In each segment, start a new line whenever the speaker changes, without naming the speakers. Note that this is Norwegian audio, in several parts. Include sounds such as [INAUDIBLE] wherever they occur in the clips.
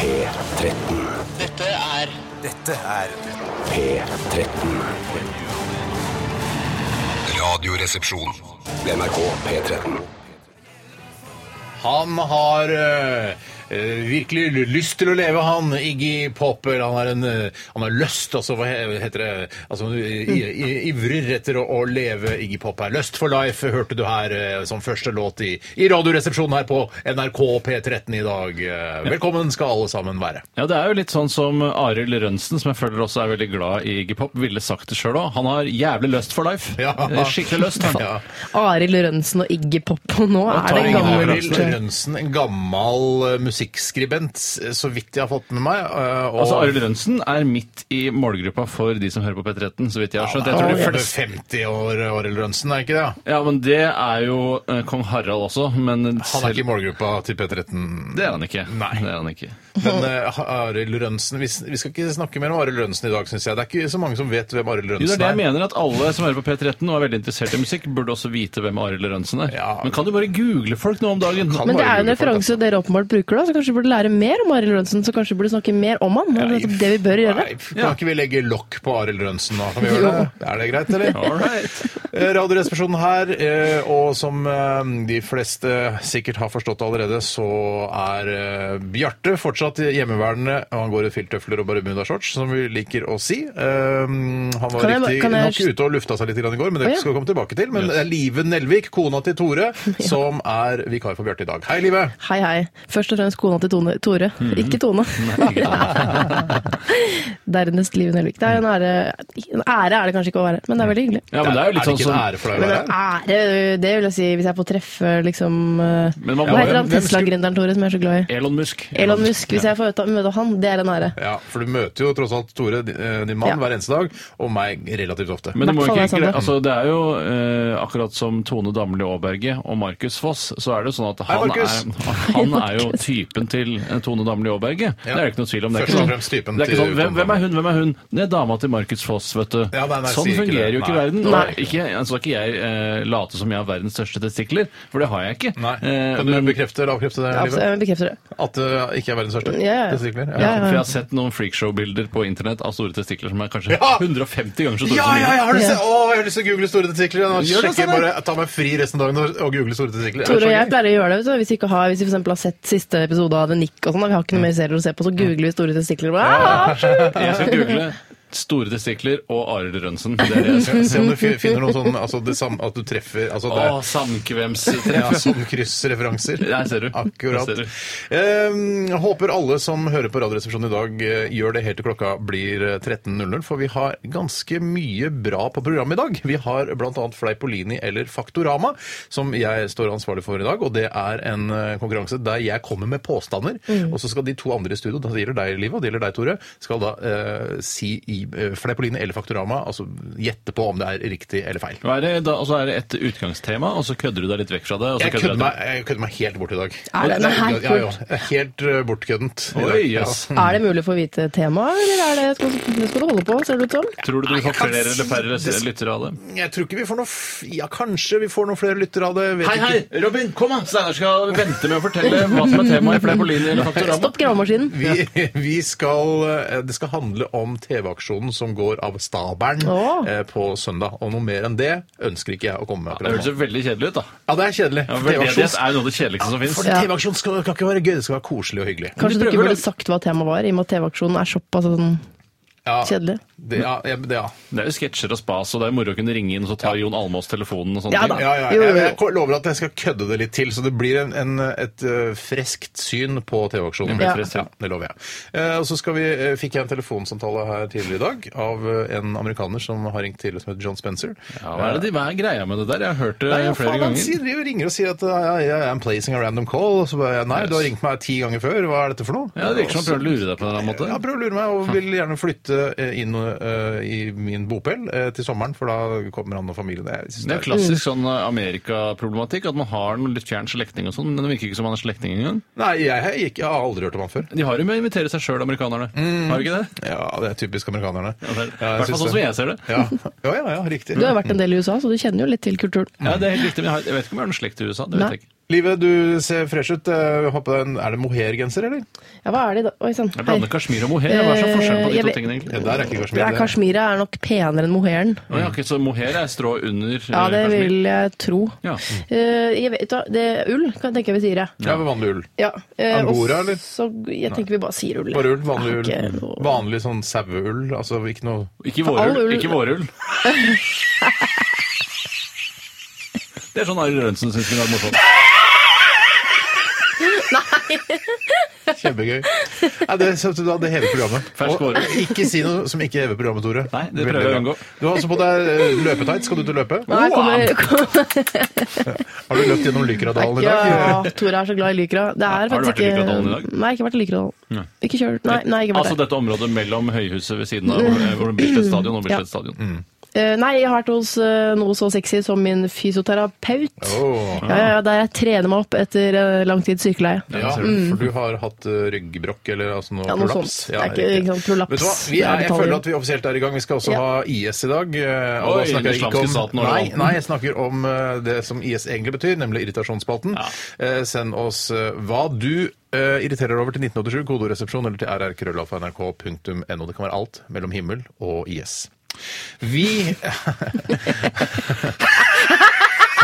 P13.
Dette er
Dette er
P13.
Radioresepsjon.
NRK P13.
Han har eh, eh, virkelig lyst til å leve, han Iggy Pop. eller Han har, en, eh, han har lyst, altså hva he- heter det altså, i, i, Ivrer etter å, å leve Iggy Pop her. Lyst for life hørte du her eh, som første låt i, i Radioresepsjonen her på NRK P13 i dag. Eh, Velkommen skal alle sammen være.
Ja, Det er jo litt sånn som Arild Rønsen, som jeg føler også er veldig glad i hiphop, ville sagt det sjøl òg. Han har jævlig lyst for life.
Ja.
Eh, Skikkelig lyst. han.
Ja.
Arild Rønsen og Iggy Pop, og nå er
tar
det
ingen
Arild
gammelt.
referanse.
Rønsen, en gammel eh, musikkskribent, s- så vidt jeg har fått med meg. eh, og-
Altså, Arild Rønsen er midt i målgruppa for de som hører på P13, så vidt jeg har skjønt. Jeg
Han
tror
er
de
over
fleste
50 år, Arild Rønsen, er ikke det?
Ja, men det er jo eh, kong Harald også, men
Han er ikke i målgruppa til P13.
Det er han ikke.
Nei.
Det er han ikke. [LAUGHS]
Men eh, Arild Rønsen vi, s- vi skal ikke snakke mer om Arild Rønsen i dag, syns jeg. Det er ikke så mange som vet hvem Arild
Jo, det er
Rønsen
det jeg
er.
mener, at alle som hører på P13 og er veldig interessert i musikk, burde også vite hvem Arild Rønsen er.
Ja.
Men kan du bare google folk nå om dagen?
Kan
Men det
bare
er jo en
google folk,
referanse dere åpenbart bruker, da, så kanskje vi burde lære mer om Arild Rønsen? Så kanskje vi burde snakke mer om han? Det er nettopp det vi bør gjøre.
Nei, f- kan ikke vi legge lokk på Arild Rønsen nå? Kan vi gjøre det? Er det greit, eller?
All right.
Eh, Radioresepsjonen her, eh, og som eh, de fleste sikkert har forstått allerede, så er eh, Bjarte fortsatt hjemmeværende. og Han går i filttøfler og bermudashorts, som vi liker å si. Eh, Han var
Kan jeg-
riktig
kan jeg-
nok ute og lufta seg litt grann i går, men
Å,
det
ja.
skal vi komme tilbake til. Men det er Live Nelvik, kona til
[LAUGHS]
Tore, som er vikar for Bjarte i dag. Hei, Live!
Hei, hei. Først og fremst kona til Tone, Tore.
Mhm.
Ikke Tone.
[LAUGHS]
Dernest Liv Nelvik. Det er jo en ære En ære er det kanskje ikke å være, men det er veldig hyggelig.
Ja, men det er jo litt sånn
ikke en
som
ære for deg å
Men
være
en
her?
ære, det vil jeg si, hvis jeg får treffe liksom eh,
Men man må
Hva heter
jo-
han
hvem skulle-
Tesla-gründeren, Tore, som jeg er så glad i?
Elon Musk.
Elon Musk. Hvis jeg får møte- møte han, det er en ære.
Ja, for du møter jo tross alt Tore, din eh, din mann,
Ja.
hver eneste dag, og meg relativt ofte.
Men du må
Hvertfall
ikke,
er sånn det.
altså, det er jo eh, akkurat som Tone Damli Aaberge og Markus Foss, så er det jo sånn at han,
Markus! [LAUGHS]
er, han er jo typen til eh, Tone Damli Aaberge. Det er det ikke noe tvil om. Det er
Først
ikke
og
sånn,
fremst typen
det er ikke
til
sånn hvem,
Tone
hvem er hun, hvem er hun? Det er dama til Markus Foss, vet du.
Ja, nei, nei,
sånn
sier ikke
fungerer
det.
jo ikke
Nei.
verden.
Nei.
Og ikke, altså, skal ikke jeg eh, late som jeg har verdens største testikler, for det har jeg ikke.
Nei.
Eh,
Kan du
men-
bekrefte eller avkrefte det?
Absolutt,
Livet?
jeg bekrefter det.
At det ikke er verdens største?
Ja, ja.
Testikler?
Ja, ja.
for jeg har sett noen freakshow-bilder på internett av store testikler som er kanskje
Ja!
150 ganger så store
Ja,
som
ja,
mine.
jeg har lyst til,
Ja.
å, jeg har lyst til å google store testikler. Nå
Gjør det,
sjekker jeg
Sanne.
bare, jeg tar meg fri resten av dagen og- og google store testikler.
Tore og jeg
Det er så gøy.
pleier å gjøre det vet du, hvis vi, ikke har, hvis vi for eksempel har sett siste episode av The Nick, og sånn, da vi har ikke noe mer serier å se på, så googler vi store testikler. og bare, «Ah, så
Jeg skal google store testikler og Arild Rønsen. Det er det jeg skal.
Se- Se
[LAUGHS]
om du fi- finner noe sånn altså det samme, at du treffer altså det,
Å, samkvemstreff.
ja, Sånn kryssreferanser.
Der ser du.
Akkurat.
Der ser du.
Eh, jeg håper alle som hører på Radioresepsjonen i dag, eh, gjør det helt til klokka blir eh, 13.00, for vi har ganske mye bra på programmet i dag. Vi har bl.a. Fleipolini eller Faktorama, som jeg står ansvarlig for i dag. Og det er en eh, konkurranse der jeg kommer med påstander, og så skal de to andre i studio, det gjelder deg, Liv, og det gjelder deg, Tore, skal da eh, si i eh, Fleipolini eller Faktorama, altså gjette på om det er riktig eller feil.
Og er det da- Og så er det et utgangstema, og så Altså, kødder du deg litt vekk fra det. Og så
Jeg kødder
du
meg, jeg kødder meg helt bort i dag.
Er det-
Ja,
nei,
ja, ja, ja. Helt eh, bortkøddent. i dag.
Oi, jøss.
Er det mulig å få vite temaet, eller er det, skal, det skal du holde på, ser det ut som?
Tror du du får
kan
flere
si-
eller færre lyttere av det?
Jeg tror ikke vi får noe f Ja, kanskje vi får noen flere lyttere av det. Vet
Hei,
ikke.
hei, Robin! Kom, da! Steinar skal vente med å fortelle hva som er temaet i Fleipolini eller Faktorama.
Stopp gravemaskinen.
Vi, [LAUGHS] vi skal, eh, det skal handle om TV-aksjonen som går av stabelen
Åh.
eh, på søndag. Og noe mer enn det ønsker ikke jeg å komme med.
Det høres
akkurat
jo
nå.
veldig kjedelig ut, da.
Ja, det er kjedelig.
Ja,
for
Veldedighet
TV-aksjon-
er jo noe av det kjedeligste som fins.
for
Ja.
TV-aksjon skal, kan ikke være gøy, det skal være koselig og hyggelig.
Men
Kanskje du
de
ikke
prøver
burde
det.
sagt hva temaet var, i og med at TV-aksjonen er såpass sånn
Ja,
kjedelig.
Det, ja, ja, det, ja.
Det er jo sketsjer og spas, og det er moro å kunne ringe inn, og så tar Jon Almaas telefonen og sånne
Ja
ting.
da.
Ja, ja,
Jo, jo,
jeg,
jo.
jeg lover at jeg skal kødde det litt til, så det blir en, en, et eh, freskt syn på TV-aksjonen.
Det blir
Ja.
freskt,
ja.
Mm. ja.
det lover jeg. Eh, og så skal vi, eh, fikk jeg en telefonsamtale her tidligere i dag av eh, en amerikaner som har ringt til, som heter John Spencer.
Ja, hva, er det, de- hva er greia med det der? Jeg har hørt det
Nei, ja,
flere
faen, han
ganger.
sier, driver og ringer og sier at eh, I am placing a random call. Og så bare jeg, nei, du har ringt meg ti ganger før, hva er dette for noe?
Ja, Det virker som han prøver å lure deg på Hm. en eller annen måte.
Ja, prøv å lure meg, og vil gjerne flytte eh, inn eh, i min bopel eh, til sommeren, for da kommer han og familien. Jeg synes
Det er klassisk
Mm.
sånn Amerika-problematikk, at man har noen litt fjern slektning og sånn, men det virker ikke som han er slektning engang.
Nei, jeg, har ikke- jeg har aldri hørt om han før.
De har jo med å invitere seg sjøl, amerikanerne. Har de ikke det?
Ja, det er typisk amerikanerne.
I hvert
Mm. Ja,
fall
jeg
sånn
syns
som
det.
jeg ser det.
Ja. ja, ja, ja, riktig.
Du har jo vært en del i USA, så du kjenner jo litt til kulturen.
Ja, det er helt riktig, men jeg, har, jeg vet ikke om jeg har noen slekt i USA. det
Nei.
vet jeg ikke.
Live, du ser fresh ut. Eh, Har på deg en, er det mohairgenser, eller?
Ja, hva er det da? Oi sånn. sann.
Jeg blander kasjmir og mohair. Hva er så forskjellen på
Eh,
de
jeg
to
vet-
tingene
Ja,
egentlig?
der er ikke kashmir.
Ja, Kashmira er nok penere enn mohairen.
Å ja, ok, så mohair er strå under eh,
Ja, det
kasjmir.
vil jeg tro.
Ja.
Eh, jeg vet, da, det er ull, kan tenker jeg vi sier. jeg.
Ja, ved vanlig ull.
Ja. eh, og
Angora, eller?
Så jeg tenker vi bare sier ull.
Bare ull, vanlig
Jeg har
ull.
ikke noe-
Vanlig sånn saueull, altså ikke noe
Ikke
all
vårull.
ull-
Ikke vårull.
[LAUGHS]
Det er sånn Arild Rønsen syns vi er morsomt.
Kjempegøy. Nei, det, så, da, det hever programmet.
Fersk
Og
vårrull.
ikke si noe som ikke hever programmet, Tore.
Nei, det
Veldig
prøver jeg å
bra.
unngå.
Du har også på deg eh, løpetights. Skal du ut og løpe?
Nei, kommer, kommer,
Har du løpt gjennom Lykradalen i dag?
ja, Tore er så glad i Lykra. Det er
Har du
faktisk
vært i
ikke-
Lykradalen i dag?
Nei, ikke vært i Lykradalen. Ikke kjørt. Nei, nei, ikke vært
Altså
der.
dette området mellom høyhuset ved siden av eh, hvor det blir Bislett stadion og Bislett stadion.
Eh, Nei, jeg har vært hos eh, noe så sexy som min fysioterapeut.
Åh.
Ja, ja, der jeg trener meg opp etter eh, lang tids sykeleie.
Ja, for du har hatt eh, ryggbrokk eller altså noe
Ja, noe
prolaps.
sånt. Det er ikke- ikke sant, prolaps.
Vet du hva? Vi
Det er
er, jeg
detaljer.
føler at vi offisielt er i gang. Vi skal også
Ja.
ha IS i dag. eh, Og
Oi,
da snakker
den
jeg ikke om
islamske staten og
nei,
revolten.
nei, jeg snakker om eh, det som IS egentlig betyr, nemlig irritasjonsspalten. Eh, Send oss eh, hva du eh, irriterer over til 1987, kodoresepsjon eller til rrkrøllalfa.nrk.no. Det kan være alt mellom himmel og IS. Vi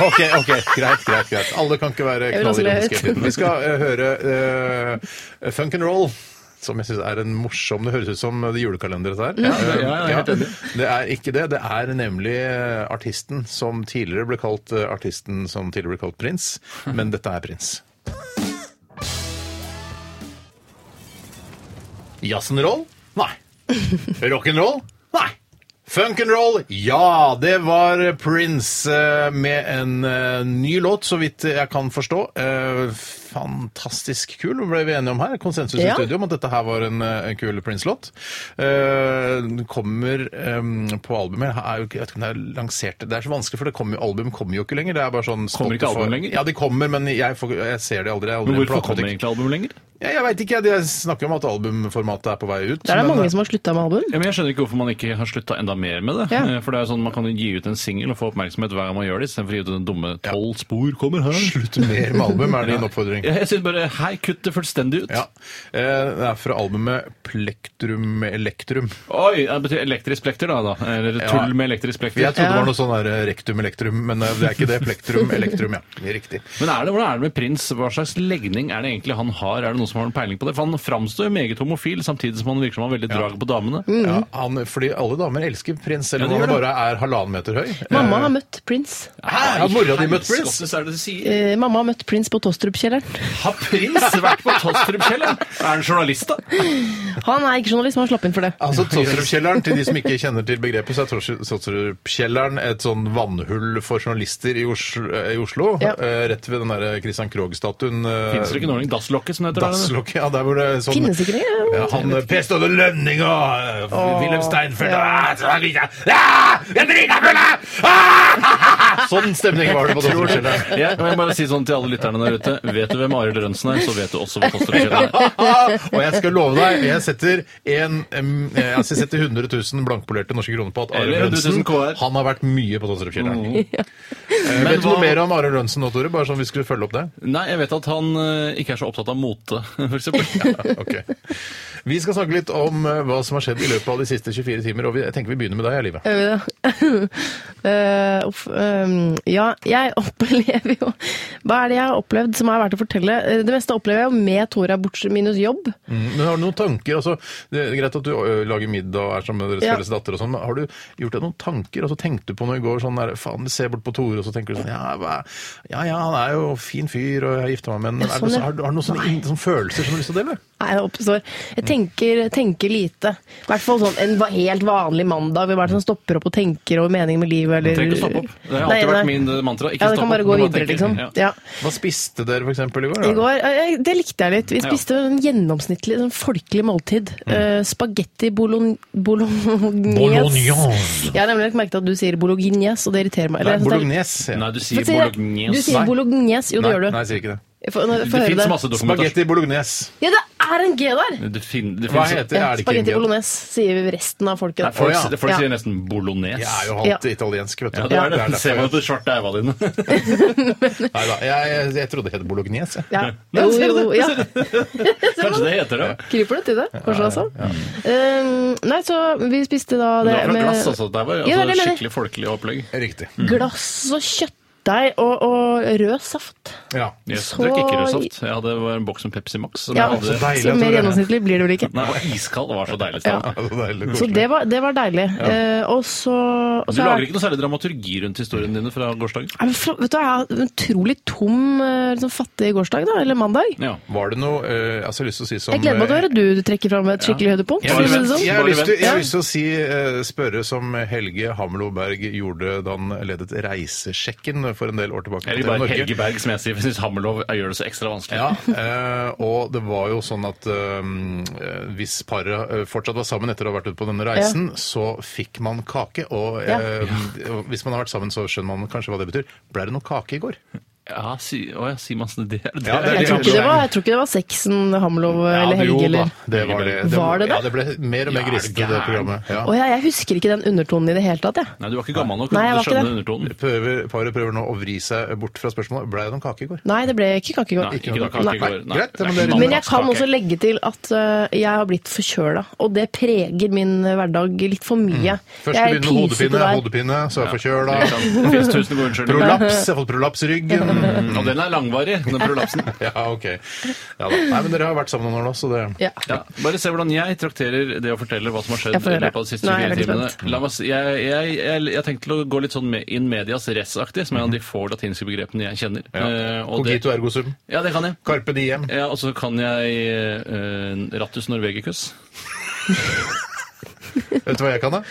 Ok, ok, greit, greit, greit. Alle kan ikke være
Jeg vil også le
knallironiske.
høyt.
Vi skal eh, høre eh, Funk and Roll. Som jeg syns er en morsom Det høres ut som det julekalenderet der.
Mm. ja, ja, jeg er helt
Det er ikke det. Det er nemlig eh, artisten som tidligere ble kalt eh, artisten som tidligere ble kalt prins. Men dette er prins. Jazzenroll? Nei. Rock'n'roll? Nei. Funk'n'roll? Ja, det var Prince eh, med en eh, ny låt, så vidt jeg kan forstå. Eh, Fantastisk kul, ble vi enige om her. Konsensus i
Ja.
studio om at dette her var en, eh, en kul Prince-låt. Eh, Den kommer eh, på albumet Her er jo ikke- Jeg vet ikke om det er lansert Det er så vanskelig, for det kommer jo, album kommer jo ikke lenger. Det er bare sånn
Kommer ikke
Spotify-
album lenger?
Ja, de kommer, men jeg, får, jeg ser de aldri. Jeg har aldri
Men
en
hvorfor
platebutikk.
kommer egentlig album lenger?
Ja, jeg veit ikke. Jeg snakker om at albumformatet er på vei ut.
Der er det
men- eh,
mange som har slutta med album.
Ja, men jeg skjønner ikke hvorfor man ikke har slutta enda mer med det.
Ja.
Eh, For det er jo sånn Man kan jo gi ut en singel og få oppmerksomhet hver gang man gjør det, istedenfor å gi ut den dumme 'tolv spor kommer her'.
Slutt mer med album, er din oppfordring.
Jeg, jeg synes bare Hei, kutt det fullstendig ut.
Ja. Eh, Det er fra albumet Plektrum Elektrum.
Oi, det betyr elektrisk plekter, da. da. Eller tull med elektrisk plekter.
Jeg trodde det
Ja.
var noe sånn der eh, Rektum Elektrum, men eh, det er ikke det. Plektrum Elektrum, ja. Det er Riktig.
Men er det, hvordan er det med prins? Hva slags legning er det egentlig han har? Er det noen som har noen peiling på det? For han framstår jo meget homofil, samtidig som han virker som han har veldig drag på damene.
Ja, han, fordi alle damer elsker prins, selv om
Ja, de
han
gjør
bare er halvannen meter høy.
Mamma har møtt Prince.
Hæ? Har mora di møtt prins?
Helskottes er det du sier?
Eh, mamma har møtt Prince på Tostrup-kjelleren.
Har prins vært på Tostrup-kjelleren? Er han journalist,
Eh,
da?
Han er ikke journalist, men han slapp inn for det.
Altså Totrupkjelleren, til de som ikke kjenner til begrepet, så er Totrupkjelleren et sånn vannhull for journalister i Oslo, eh, i Oslo
Ja.
eh, rett ved den der Christian Krogh-statuen. eh,
Fins det ikke noe Dasslokket, som det heter? der, eller?
Dasslokket, ja, der hvor det er sånn
Finnes ikke det?
Ja, han eh, Per Ståle Lønning og eh, Wilhelm Steinfeld og ah, så er det ikke- Ah, jeg driter meg full, ah! [LAUGHS] Sånn stemning var det på Totrupkjelleren.
Ja, og jeg må bare si sånn til alle lytterne der ute. Vet du hvem Arild Rønsen er, så vet du også hva Tostrup-kjelleren er.
[LAUGHS] og jeg skal love deg, jeg setter, en, em, eh, altså jeg setter 100 000 blankpolerte norske kroner på at Are
Eller 100 000
Lønsen
KR.
han har vært mye på Totrupkjelleren. Eh,
Mm. Men
Vet du noe
hva-
mer om Are Lønsen nå, Tore? Bare sånn vi skulle følge opp det.
Nei, jeg vet at han eh, ikke er så opptatt av mote, [LAUGHS] for eksempel.
Ok. Vi skal snakke litt om eh, hva som har skjedd i løpet av de siste 24 timer, og vi, jeg tenker vi begynner med deg, Live.
Gjør vi det? Eh, uff, ehm, ja, jeg [LAUGHS] opplever jo Hva er det jeg har opplevd som er verdt å fortelle? Eh, Det meste opplever jeg jo med Tora, bortsett minus jobb.
Mm. Men har du noen tanker? Altså, det er greit at du ø, lager middag og er sammen med deres
Ja.
felles datter og sånn, men har du gjort deg noen tanker? Altså, tenkte du på noe i går sånn der, faen, se bort på Tore, og så tenker du sånn, ja, hva, ja, ja, han er jo fin fyr, og jeg har gifta meg med ham, men
Ja,
er det
sånn,
noe-
ja.
har, du- har du noen sånne, in- sånne følelser som du har lyst til å dele?
Nei, det oppstår. Jeg tenker, tenker lite. I hvert fall sånn en va- helt vanlig mandag. Hver som stopper opp og tenker over meningen med livet. Eller,
Du trenger ikke å stoppe opp. Det har alltid
Nei, nei.
vært min eh, mantra. Ikke
Ja, det
stopp
kan bare
opp,
gå
du må
videre,
tenke.
liksom.
Ja.
Ja.
Hva spiste dere for eksempel i går? da?
I går, eh, det likte jeg litt. Vi
Ja. Mm.
spiste en gjennomsnittlig, sånn folkelig måltid. Eh, Spagetti bologn- bolognese.
Bolognese.
Jeg har nemlig lagt merke til at du sier bolognese, og det irriterer meg.
Nei,
Eller jeg synes det er-
Bolognese. ja.
Nei, du
Hva
sier
sier jeg? Du
bolognese.
sier bolognese. Jo, det
Nei,
gjør du.
Nei, jeg sier ikke det.
Få få
Det
høre
fins
det.
masse dokumentasjon.
Spagetti bolognese.
Ja, det er en G der!
Det fin, det
Hva
finnes-
heter det? Er det ikke en
Spagetti
G?
bolognese, sier resten av folket.
Nei, folk,
Å, ja.
folk
Ja.
sier nesten bolognese.
Jeg er jo
Ja.
halvt italiensk, vet du.
Ja, det er det.
Det er derfor
Se meg
jeg-
på de svarte øynene dine.
Neida, jeg, jeg, jeg trodde det het bolognese. jeg.
Ja.
[LAUGHS] Nei,
Jo,
ser du
jo,
det?
ja.
Kanskje det heter det.
Kryper det til det, kanskje også? Um, nei, så vi spiste da
Men det
det
var fra glass, altså. Det var jo
Ja,
altså,
det er det jeg mener.
skikkelig folkelig opplegg.
Riktig.
Glass og kjøttdeig og, og rød saft.
Ja.
Yes,
Så-
jeg drakk ikke rødsaft. Jeg hadde var en boks med Pepsi Max. Som
Ja,
jeg
så
hadde...
deilig
så
at du
mer
gjør det.
gjennomsnittlig blir det vel ikke.
Nei, det var iskald. Det var så deilig.
Ja.
Ja.
Ja, det var deilig,
Så
koselig.
det var, det var deilig. Eh, og så og
Du
så-
lager ikke noe særlig dramaturgi rundt historien dine fra gårsdagen?
Nei, men fra- Vet du, jeg har en utrolig tom, eh, liksom, fattig gårsdag, da. Eller mandag.
Ja.
Var det noe eh, altså, Jeg har lyst til å si som eh,
Jeg gleder meg til å høre du, du trekker fram et skikkelig høydepunkt.
Ja,
for å si det
men-
sånn.
Jeg har
Bare
lyst til,
vent.
jeg har lyst til å si, eh, spørre som Helge Hamlo Berg gjorde da han ledet Reisesjekken for en del år tilbake. på
Eller
TV
bare
Norge.
Helge Berg, som jeg sier. for Jeg syns Hammerlov gjør det så ekstra vanskelig.
Ja, eh, og det var jo sånn at eh, hvis paret eh, fortsatt var sammen etter å ha vært ute på denne reisen, så fikk man kake. Og eh, og hvis man har vært sammen, så skjønner man kanskje hva det betyr. Ble det noe kake i går?
Ja, si, å, ja, sier man sånn det er det?
Ja, det er
Jeg tror, ikke det var, jeg tror ikke det var Sexen, Hamlov eller
jo da,
Helge eller
det var det.
Var det det?
Ja, det ble mer og
Ja,
mer
er du
grisete, det
gæren?
programmet. Ja.
Å ja, jeg husker ikke den undertonen i det hele tatt, jeg.
Nei, du var ikke gammel nok til
Nei, jeg
å
var ikke
skjønne
det.
undertonen.
Prøver, paret prøver nå å vri seg bort fra spørsmålet. Ble det noen kake i går?
Nei, det ble ikke kakegård.
Nei, ikke da kake
noe kake.
i går.
Nei, greit, men det er
ikke
ryddig.
Men jeg kan
mandagskake.
også legge til at øh, jeg har blitt forkjøla, og det preger min eh, hverdag litt for mye.
Mm. Først
Jeg er
begynner med
pisete
hodepine,
der.
hodepine, så er jeg
Det
forkjøla.
er sant. Det finnes tusen gode unnskyldninger.
Prolaps, jeg har fått prolaps i ryggen.
Mm, Og den er langvarig, den prolapsen.
[LAUGHS] Ja, ok. Ja, da. Nei, men dere har vært sammen noen år nå, så det
Ja.
Ja, bare se hvordan jeg trakterer det å fortelle hva som har skjedd
Jeg
i
får høre.
løpet av de siste
Nå er jeg
fire
veldig
timene. La meg, si- jeg, jeg, jeg, jeg tenkte til å gå litt sånn med in medias res-aktig, som er av de få latinske begrepene jeg kjenner. Eh, og det,
Cogito ergo sum.
ja, det kan jeg.
Carpe diem.
Ja, og så kan jeg eh, Rattus norvegicus.
Vet du hva jeg kan, da?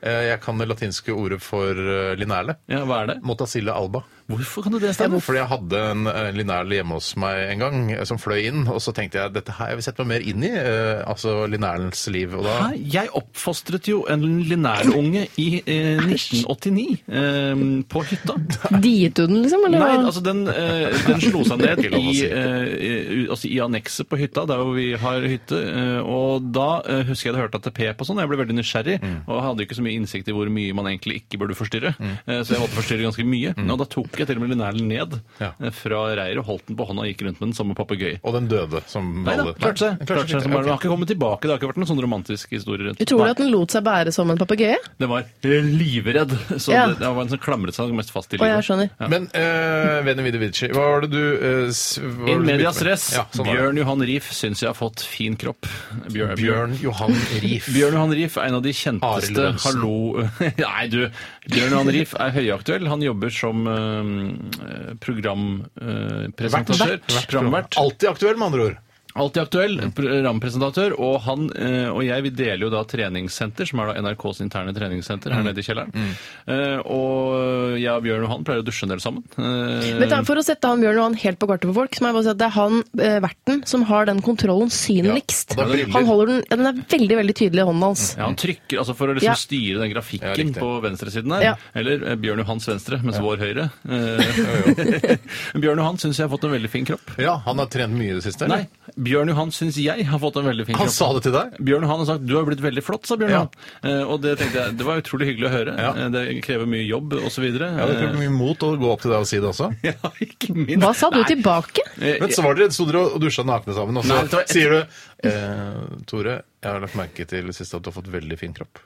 Eh, Jeg kan det latinske ordet for eh, linerle.
Ja, hva er det?
Motacilla alba.
Hvorfor kan du det, Stein?
Fordi jeg hadde en eh, linerle hjemme hos meg en gang, eh, som fløy inn. Og så tenkte jeg dette her jeg vil sette meg mer inn i, eh, altså linerlens liv. Og da
Hæ? Jeg oppfostret jo en linærunge i eh, 1989 eh, på hytta.
Diet du den, liksom? Eller?
Nei,
hva?
altså den, eh, den slo seg
[LAUGHS]
ned
Ikke lov
i,
å si.
eh, i- altså i annekset på hytta, der hvor vi har hytte. eh, og da eh, husker jeg det hørte ATP på sånn, og jeg ble veldig nysgjerrig.
Mm.
Og hadde ikke så mye innsikt i hvor mye man egentlig ikke burde forstyrre. eh, så jeg måtte forstyrre ganske mye. Og da tok jeg til og med linæren ned
Mm. Ja.
eh, fra reiret, holdt den på hånda og gikk rundt med den som en papegøye.
Og den døde, som
Nei da,
alle-
klarte seg.
den
Klarte seg som
fint.
bare, Den har ikke kommet tilbake. Det har ikke vært noen sånn romantisk historie. rundt.
Utrolig
Nei.
at den lot seg bære som en papegøye.
Den var livredd. Så
Ja.
det, det var en som klamret seg mest fast i
Å, jeg
livet.
skjønner.
Ok. Men uh, Veni Vidi Vici, hva var det du eh, s- hva var det
In
du
media
begynte med?
stress.
Ja, sånn er det.
Bjørn Johan Rief syns jeg har fått fin kropp. Bjørn,
Bjørn Johan Rief.
[LAUGHS] Bjørn Johan Rief er en av de
Arild
kjenteste
Lørensen.
Hallo [LAUGHS] Nei, du. Bjørn Johan Rief er høyaktuell. Han jobber som eh, programpresentatør. Programvert.
Alltid aktuell, med andre ord.
Alltid aktuell, programpresentatør, og han eh, og jeg vi deler jo da treningssenter, som er da NRKs interne treningssenter her nede i kjelleren. Eh, og jeg og Bjørn og han pleier å dusje en del sammen. Eh,
Vet du,
Um.
for å sette han Bjørn Johan helt på kartet for folk, så må jeg bare si at det er han eh, verten som har den kontrollen synligst.
Ja, og det er Mm. briller.
han holder den, ja, den er veldig veldig tydelig i hånden hans.
ja, han trykker, altså For å liksom
Ja.
styre den grafikken
Ja, riktig.
på venstresiden her.
Ja.
Eller eh, Bjørn Johans venstre, mens vår høyre. [LAUGHS] Eh, Bjørn Johan syns jeg har fått en veldig fin kropp.
Ja, Han har trent mye i det siste?
Nei,
eller?
Bjørn Johan syns jeg har fått en veldig fin
Han
kropp.
sa det til deg?
Bjørn Johan har sagt 'du har blitt veldig flott', sa Bjørn
Ja.
Johan. Eh, og det tenkte jeg, det var utrolig hyggelig å høre.
Ja.
Eh, det krever mye jobb osv.
Ja, Det
Eh.
tok mye [LAUGHS] mot å gå opp til deg og si det også.
ja, ikke minst.
Hva sa du
Nei.
tilbake?
Eh,
Men så var dere, sto dere og dusja nakne sammen, og så
Nei, det var et-
sier du eh, Tore, jeg har lagt merke til det siste at du har fått veldig fin kropp.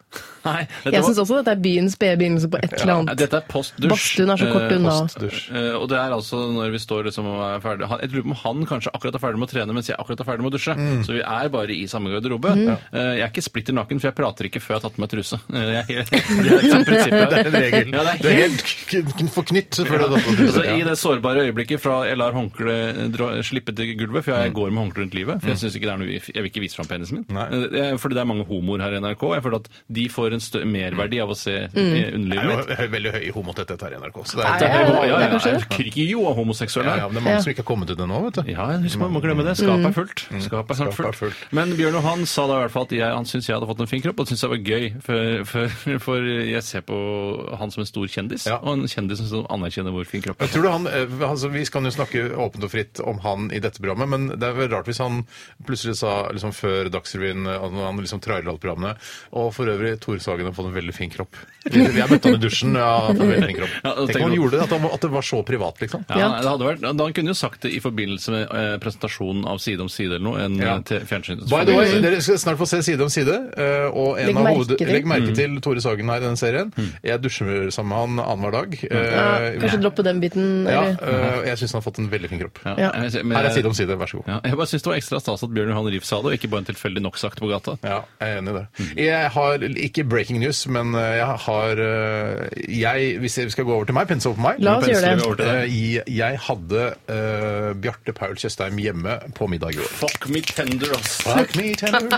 Nei, dette,
Jeg syns
var,
også dette er byens spede begynnelse på et eller annet.
dette er postdusj.
Badstuen er så kort
Eh,
unna.
Dusj.
Eh, og det er altså når vi står liksom og er ferdig han, Jeg lurer på om han kanskje akkurat er ferdig med å trene mens jeg akkurat er ferdig med å dusje.
Mm.
Så vi er bare i samme garderobe.
Mm.
Eh, jeg er ikke splitter naken, for jeg prater ikke før jeg har tatt på meg truse. Eh, jeg, er helt- [LAUGHS] det er liksom prinsippet.
Det er en regel.
Ja, det er
Du er helt k- k- forknytt før du har tatt på
Altså, I
deg
det sårbare øyeblikket fra jeg lar håndkleet dra- slippe til gulvet, for jeg går med håndkle rundt livet For jeg synes ikke det er noe, jeg vil ikke vise fram penisen min.
Mm. Nei.
Det jeg- fordi det er mange homoer her i NRK. Jeg føler at de får en stø merverdi av å se
Mm.
eh,
Det
underlivet mitt.
er jo veldig høy homotetthet her i NRK. Så det
Nei,
er,
det er-
Ja, ja,
det er
ja.
kanskje
Jeg
det.
kriger jo av homoseksuelle
ja,
her.
ja, men det er mange
Ja.
som ikke har kommet ut ennå, vet du.
Ja, husk, man må glemme det. Skapet er fullt. Skapet er snart
Mm. Skapet er
fullt.
fullt.
Men Bjørn Johan sa da i hvert fall at jeg, han syntes jeg hadde fått en fin kropp, og det syntes jeg var gøy. For, for, for jeg ser på han som en stor kjendis,
Ja.
og en kjendis som anerkjenner hvor fin kropp
Jeg
er.
tror du han, eh, altså Vi kan jo snakke åpent og fritt om han i dette programmet, men det er vel rart hvis han plutselig sa liksom før Dagsrevyen eh, at han liksom trailer alle programmene Og for øvrig, Tore Sagen har fått en veldig fin kropp. Jeg møtte han i dusjen. Ja, han har fått en veldig fin kropp.
Ja, da
Tenk
tenker
om han
du-
gjorde det, at, han, at det var så privat, liksom.
Ja, det hadde vært, da Han kunne jo sagt det i forbindelse med eh, presentasjonen av Side om side eller noe. En
Ja.
eh, te- fjernsyns-
By the way, Dere skal snart få se Side om side. eh, Og en
Legg
av
merke
hoved...
til.
Legg
Mm.
merke til Tore Sagen her i denne serien. Jeg dusjer sammen med han annenhver dag.
Mm.
Ja,
Eh,
kanskje droppe den biten.
ja,
Eller?
eh, jeg syns han har fått en veldig fin kropp.
Ja,
Ja.
jeg- men
Her er
jeg-
Side om side, vær så god.
Ja, jeg bare syns det var ekstra stas at Bjørn Johan Rief sa det, og ikke bare en tilfeldig nok-sagt på gata.
Ja, jeg er enig i det. Jeg har ikke breaking news, men eh, jeg har eh, jeg, Hvis jeg skal gå over til meg, pense over på meg
La oss
Pense
gjøre det.
over til deg. Eh, Jeg hadde eh, Bjarte Paul Tjøstheim hjemme på middag i
[LAUGHS]
går.
Fuck me tender, ass!
Fuck me, tender.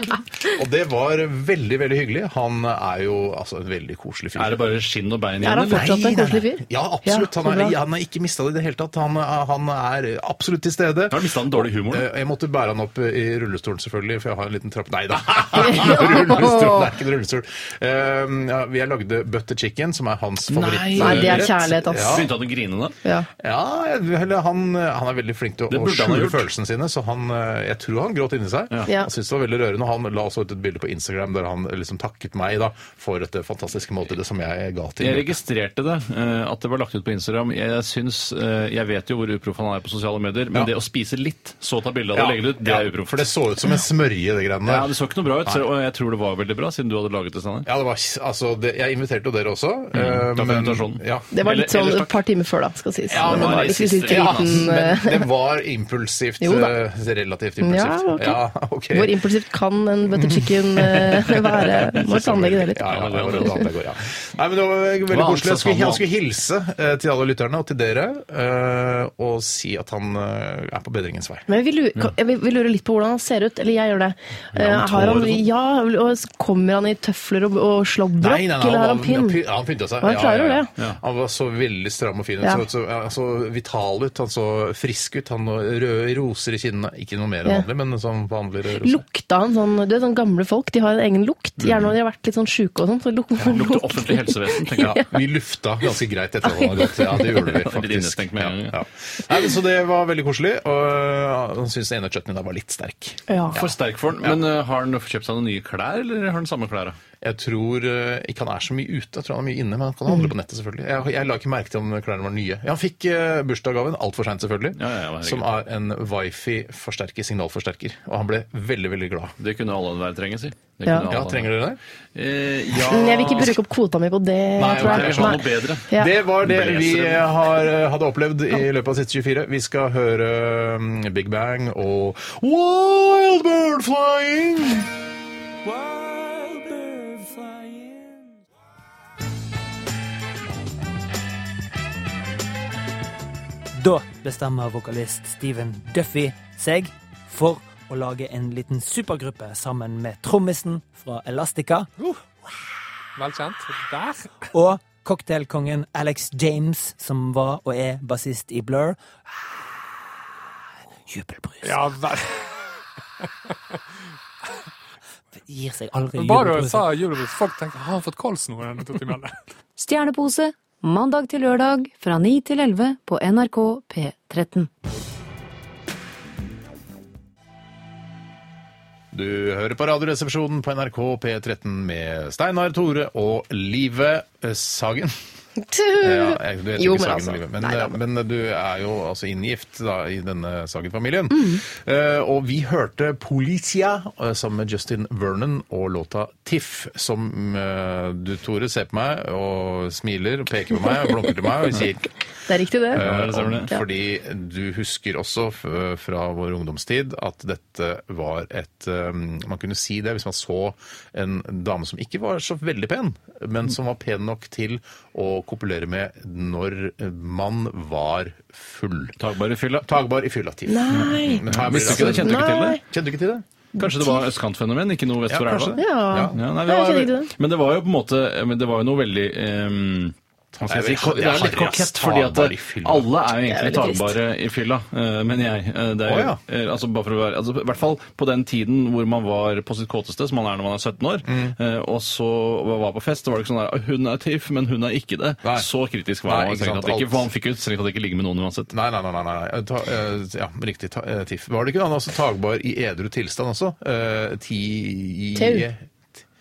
Og det var veldig, veldig hyggelig. Han er jo altså en veldig koselig fyr.
Er det bare skinn og bein igjen?
Er han
eller?
fortsatt en
Nei, nei,
koselig
nei.
fyr?
Ja, absolutt.
Ja,
Han
så
er-
bra.
han har ikke mista det i det hele tatt. Han, er- han er absolutt til stede.
Har du mistet den dårlige humoren?
Eh, Jeg måtte bære han opp i rullestolen, selvfølgelig, for jeg har en liten trapp Nei [LAUGHS]
[LAUGHS]
da! rullestol, det er ikke en rullestol. Eh, ja, jeg lagde butter chicken, som er hans favoritt. eh,
Nei, det er kjærlighet, ass.
Ja.
Begynte han å grine da?
Ja.
Ja, jeg- eller han, eh, han er veldig flink til å
Det
å
burde han ha
skjule
gjort.
følelsene sine, så han, eh, jeg tror han gråt inni seg.
Ja.
Han syntes det var veldig rørende, og han la også ut et bilde på Instagram der han liksom takket meg da, for dette fantastiske måltidet som jeg ga til
Jeg registrerte det, eh, at det var lagt ut på Instagram. Jeg syns, eh, jeg vet jo hvor uproff han er på sosiale medier, men
Ja.
det å spise litt, så ta bilde av det og legge det ut, det er
ja,
uproff.
For det så ut som en smørje, det greiene
Ja,
der.
det så ikke noe bra ut, så, og jeg tror det var veldig bra, siden du hadde laget det, Steinar.
Ja, det var, altså, det, jeg inviterte jo dere også. eh,
Mm, takk for
men-
invitasjonen.
Ja.
Det var
Eller-
litt sånn
ellers
et
takk.
par timer før, da, skal sies.
Ja,
det
men
var
det
liksom
siste-
litt
Ja,
liten
men
eh,
det var impulsivt.
[LAUGHS] Jo da.
eh, Relativt impulsivt.
Ja, ok.
ok.
Hvor impulsivt kan en butter chicken eh, være? Må planlegge det litt.
Ja, ja, det var det annet jeg går, ja. Nei, men det var veldig
Hva
koselig. Jeg skulle,
annet sa han nå?
jeg skulle hilse eh, til alle lytterne og til dere eh, og si at han eh, er på bedringens vei.
Men vi lurer, kan- jeg- vi, vi lurer litt på hvordan han ser ut. Eller jeg gjør det. Eh,
Ja, med
har han,
tår og sånn.
ja, og s- Kommer han i tøfler og, og slåbrok, eller har han pinn?
py- han pynta seg.
Han klarer jo det.
Ja. Han var så veldig stram og fin ut.
Ja.
Så, så, han så vital ut, han så frisk ut. Han var røde roser i kinnene. Ikke noe mer
Ja.
enn vanlig, men sånn vanlig røde roser.
Lukta han sånn Du vet sånn gamle folk, de har en egen lukt. Gjerne når de har vært litt sånn sjuke og sånn. Så luk,
Lukter offentlig helsevesen, tenker
[LAUGHS] Ja,
jeg.
vi lufta ganske greit etter at han hadde gått. Ja, det
[LAUGHS]
gjorde vi
Litt
faktisk.
innestengt med en gang, ja.
Ja. Nei, men så det var veldig koselig, og øh, han syntes den ene chutneyen der var litt sterk.
[LAUGHS] Ja.
For sterk for den. Men eh, har han kjøpt seg noen nye klær, eller har han samme klær? da?
Jeg tror eh, ikke han er så mye ute, jeg tror han er mye inne, men han kan handle på nettet selvfølgelig. Jeg, jeg la ikke merke til om klærne var nye. Ja, han fikk eh, bursdagsgaven altfor seint selvfølgelig,
Ja, ja, ja, herregud.
som er en wifi-forsterker, signalforsterker, og han ble veldig, veldig glad.
Det kunne alle hver trenge, si. Det
Ja.
kunne alle
Ja,
hver.
trenger dere det?
Eh, ja.
Men Jeg vil ikke bruke opp kvota mi på det.
Nei,
tror
det
jeg.
er sånn
noe bedre.
Ja.
Det var det vi
Blazer.
har, eh, hadde opplevd i løpet av siste 24. Vi skal høre mm, Big Bang og Wild Bird Flying!
Da bestemmer vokalist Steven Duffy seg for å lage en liten supergruppe sammen med trommisen fra Elastica
Uh, Vel kjent. Der.
og cocktailkongen Alex James, som var og er bassist i Blur. Ah, Jubelbrus.
Ja, vel.
Gir seg aldri
Men Bare du
jubelbrus.
sa julebrus, folk tenkte har han fått kols nå? denne to timene?
Stjernepose, mandag til lørdag fra 9 til 11 på NRK P13.
Du hører på Radioresepsjonen på NRK P13 med Steinar, Tore og Live eh, Sagen. Ja, jeg, du heter
Jo,
ikke
men
Sagen
altså.
Live, men,
Nei, da,
men eh, du er jo altså inngift da, i denne Sagen-familien.
Mm.
Eh, og vi hørte Politia eh, sammen med Justin Vernon og låta Tiff, som eh, du, Tore, ser på meg og smiler og peker på meg og blunker til meg og sier
[LAUGHS] Det er riktig, det.
Eh,
det stemmer det.
om- Fordi du husker også f- fra vår ungdomstid at dette var et eh, Man kunne si det hvis man så en dame som ikke var så veldig pen, men som var pen nok til å kopulere med når man var full.
Tagbare fylla.
Tagbar i fylla tid.
Nei.
Men her blir
Visste ikke det,
altså-
kjente du ikke til det?
Nei.
Kjente du ikke til det?
Kanskje det var østkantfenomen, ikke noe vest for elva?
kanskje det.
Ja.
Ja, nei,
Det er
det
ikke
var,
riktig,
men det var jo på en måte men Det var jo noe veldig ehm,
Han
jeg
sier
vil
vel,
si, Det er litt
Harry, ass,
kokett, fordi at
tabar i fylla.
alle er jo egentlig
Det er veldig trist.
tagbare i fylla, eh, mener jeg. Eh, Det er,
Å,
jo-
ja.
eh, altså, bare for å være, altså, I hvert fall på den tiden hvor man var på sitt kåteste, som man er når man er 17 år,
Mm.
eh, og så var på fest, så var det ikke sånn der Hun er tiff, men hun er ikke det.
Nei.
Så kritisk var
Nei,
man
ikke
strengt
sant,
tatt ikke,
alt.
for man fikk jo strengt tatt ikke ligge med noen uansett.
Nei, nei, nei. nei, nei. Ta, eh, ja, riktig. Ta, eh, tiff. Var det ikke han altså tagbar i edru tilstand også? Eh, ti...
Tau.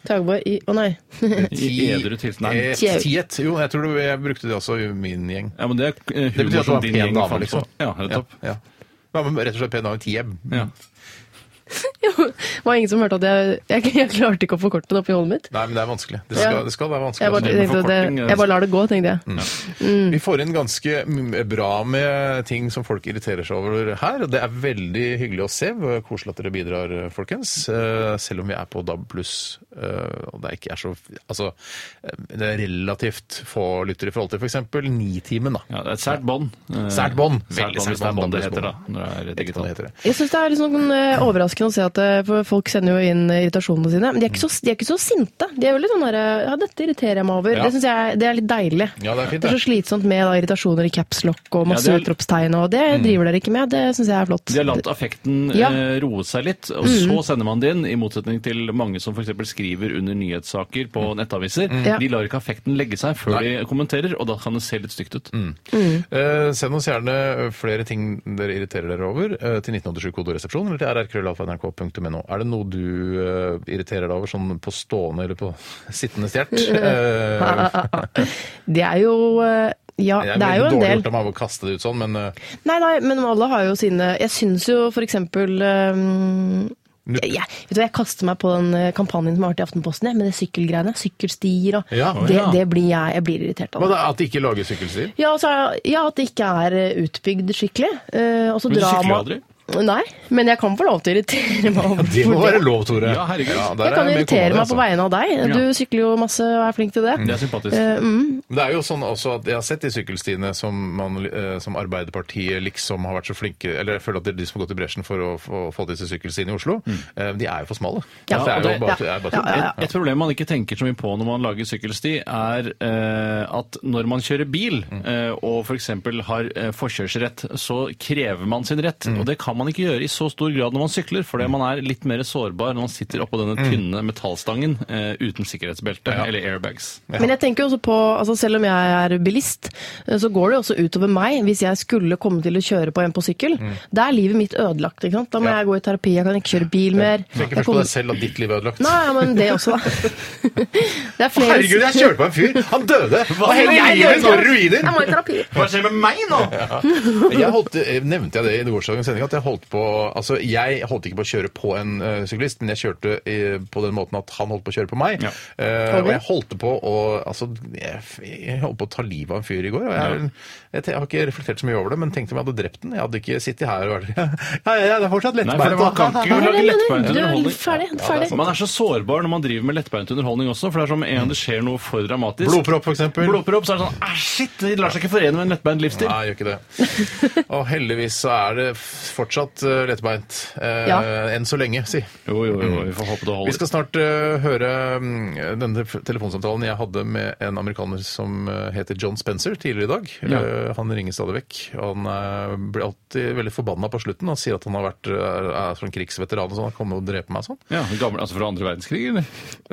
Tagbar i Å nei.
Ti...
I edru tilstand. Nei.
Eh,
Tjau.
Tiet. Jo, jeg tror det, jeg brukte det også i min gjeng.
Ja, men det er eh,
Det
humor
betyr at det
som
var
din
en pen
gjeng
dame,
fant
liksom.
på. Ja, nettopp.
Ja, ja. Ja, men rett og slett pen dame. Tieb.
Ja.
Det var ingen som hørte at jeg Jeg, jeg klarte ikke å få kortet opp i hodet mitt.
Nei, men det er vanskelig. Det
Ja.
skal, det skal være vanskelig.
Jeg bare,
altså.
tenkte at det, jeg bare lar det gå, tenkte jeg.
Vi får inn ganske m- bra med ting som folk irriterer seg over her, og det er veldig hyggelig å se. Koselig at dere bidrar, folkens. Eh, Selv om vi er på DAB pluss, og det ikke er så Altså, eh, det er relativt få lyttere i forhold til f.eks. Nitimen, da.
Ja, det er et sært bånd. Eh,
Sært bånd.
Sært bånd,
Veldig sært
hvis det er
bånd,
bånd det
Bambus
heter, da.
bånd.
Når det er
Jeg vet ikke hva
digitalt.
det heter. det.
Jeg syns det er litt sånn eh, overraskende å se at eh, for folk sender jo inn eh, irritasjonene sine. Men de er ikke så, de er ikke så sinte. De er veldig sånn der eh, Ja, dette irriterer jeg meg over.
Ja.
Det syns jeg det er litt deilig.
Ja, det er fint,
Det
det.
er så slitsomt med da, irritasjoner i capslock og masse
Ja, det er-
utropstegn, og det driver dere ikke med. Det syns jeg er flott.
De har
[LAUGHS]
latt affekten
Ja. Mm.
eh, roe seg litt, og så sender man det inn, i motsetning til mange som f.eks. skriver under nyhetssaker på
Mm.
nettaviser.
Ja.
De lar ikke affekten legge seg før de kommenterer, og da kan det se litt stygt ut.
Mm. Eh, send oss gjerne flere ting dere irriterer dere over eh, til 1987kodoresepsjon eller til rrkrøllalfa.nrk.no. Er det noe du eh, irriterer deg over sånn på stående eller på [LAUGHS] sittende
[LAUGHS]
stjert? Eh,
Det er jo eh, Ja,
Det
det
er,
er jo
veldig
en
dårlig
del.
gjort av meg å kaste det ut sånn, men eh,
Nei, nei, men alle har jo sine Jeg syns jo for eksempel eh,
Nupp.
jeg, vet du, hva, jeg kaster meg på den eh, kampanjen som har vært i Aftenposten, jeg, med det sykkelgreiene. Sykkelstier og
Ja.
det,
Ja.
det blir jeg, jeg blir irritert av.
Hva
det.
da, At de ikke lager sykkelstier?
Ja, altså, ja, at det ikke er eh, utbygd skikkelig. eh, og så
Men du
drama-
sykler jo aldri?
Nei, men jeg kan få lov til å irritere meg over
Det må
for
være lov, Tore.
Ja, herregud.
der
Jeg kan
er jeg med kona
irritere
di,
meg
altså.
på vegne av deg. Du sykler jo masse og er flink til det.
Det er sympatisk.
Eh, mm.
Det er jo sånn også at Jeg har sett de sykkelstiene som, man, eh, som Arbeiderpartiet liksom har vært så flinke Eller jeg føler at det er de som har gått i bresjen for å få, få til disse sykkelstiene i Oslo. eh, De er jo for smale.
Ja,
det er jo
og det-
bare,
ja.
det er bare
Ja, ja, ja.
tull.
Et problem man ikke tenker så mye på når man lager sykkelsti, er eh, at når man kjører bil
Mm.
eh, og f.eks. har eh, forkjørsrett, så krever man sin rett.
Mm.
Og det kan man ikke gjøre i så stor grad når man sykler, fordi man er litt mer sårbar når man sitter oppå denne
Mm.
tynne metallstangen eh, uten sikkerhetsbelte eller airbags.
Men jeg tenker jo også på, altså selv om jeg er bilist, eh, så går det jo også utover meg hvis jeg skulle komme til å kjøre på en på sykkel. Da er livet mitt ødelagt. ikke sant? Da må
Mm. Ja.
jeg gå i terapi, jeg kan ikke kjøre bil mer.
Du tenker
Jeg
først på
kommer-
deg selv at ditt liv er ødelagt.
Nei, ja, men det
[LAUGHS]
også, da. Det er flere
Herregud, jeg kjørte på en fyr! Han døde! Og hele
Jeg
livet
døde.
går i ruiner!
Jeg må i terapi.
Hva skjer med meg nå?!
jeg holdt, eh, nevnte jeg det i gårsdagens sending, at jeg holdt på Altså, jeg holdt ikke på å kjøre på en eh, syklist, men jeg kjørte eh, på den måten at han holdt på å kjøre på meg.
Ja.
Eh, og
Over.
jeg holdt på å Altså, jeg, jeg holdt på å ta livet av en fyr i går. Og jeg, jeg, te- har ikke reflektert så mye over det, men tenkte om jeg hadde drept den. Jeg hadde ikke sittet her og vært [LAUGHS] ja, ja, ja, Det er fortsatt
Nei, for det
lettbeint.
var,
[LAUGHS]
kan ikke
Nei,
lage
nei, nei,
lettbeint
du er
underholdning.
ferdig, ferdig.
Man er så sårbar når man driver med lettbeint underholdning også, for det er som en det skjer noe for dramatisk.
Blodpropp, for eksempel.
Blodpropp, så er det sånn Æsj, shit! Det lar seg ikke forene med en lettbeint livsstil.
Nei, jeg gjør ikke det. Og heldigvis så er det f- fortsatt eh, lettbeint. eh,
Ja.
Enn så lenge, si.
Jo, jo, jo, vi får håpe det
Vi
holder.
skal snart eh, høre mm, denne f- telefonsamtalen jeg hadde med en amerikaner som eh, heter John Spencer tidligere i dag.
Ja.
Eh, han ringer stadig vekk. Han eh, blir alltid veldig forbanna på slutten. Han sier at han har vært, eh, er sånn krigsveteran og sånn. Han kommer og dreper meg og sånn.
Ja, gammel, altså Fra andre verdenskrig, eller?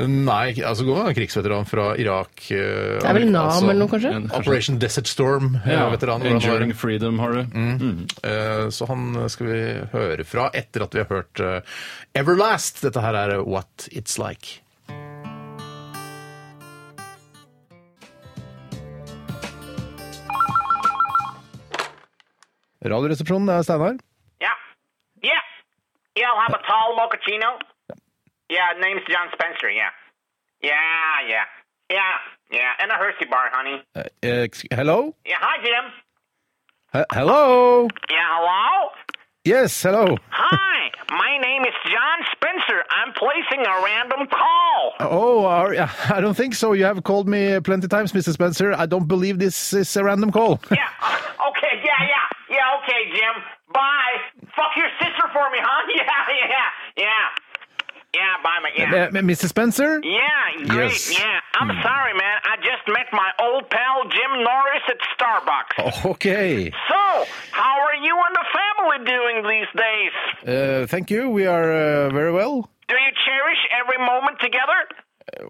Nei, altså går han krigsveteran fra Irak eh,
Det er vel
Amerika,
Nam
altså,
eller noe, kanskje?
En-
Operation Desert Storm. Ja, veteran, hvor han var- Mm.
Enduring freedom, har du.
Eh, Så han skal vi høre fra etter at vi har hørt eh, Everlast. Dette her er What It's Like. Radioresepsjonen, det er Steinar.
Yeah. Yeah. Yeah, I'll have a tall mochaccino. Yeah, name's John Spencer, yeah. Yeah, yeah. Yeah, yeah. And a Hershey bar, honey.
Eh, ex- Hello?
Yeah, hi, Jim.
He- Hello?
Yeah, hello?
Yes, hello.
Hi, my name is John Spencer. I'm placing a random call.
Oh,
uh,
are,
[LAUGHS]
I don't think so. You have called me plenty times, Mr. Spencer. I don't believe this is a random call.
Yeah, uh, okay, yeah, yeah. [LAUGHS] Yeah, okay, Jim. Bye. Fuck your sister for me, huh? Yeah, yeah, yeah. Yeah, bye, man. [LAUGHS] Yeah.
Uh, Mr. Spencer?
Yeah, great.
Yes.
Yeah, I'm sorry, man. I just met my old pal Jim Norris at Starbucks.
Ok.
So, how are you and the family doing these days?
Uh, thank you. We are uh, very well.
Do you cherish every moment together?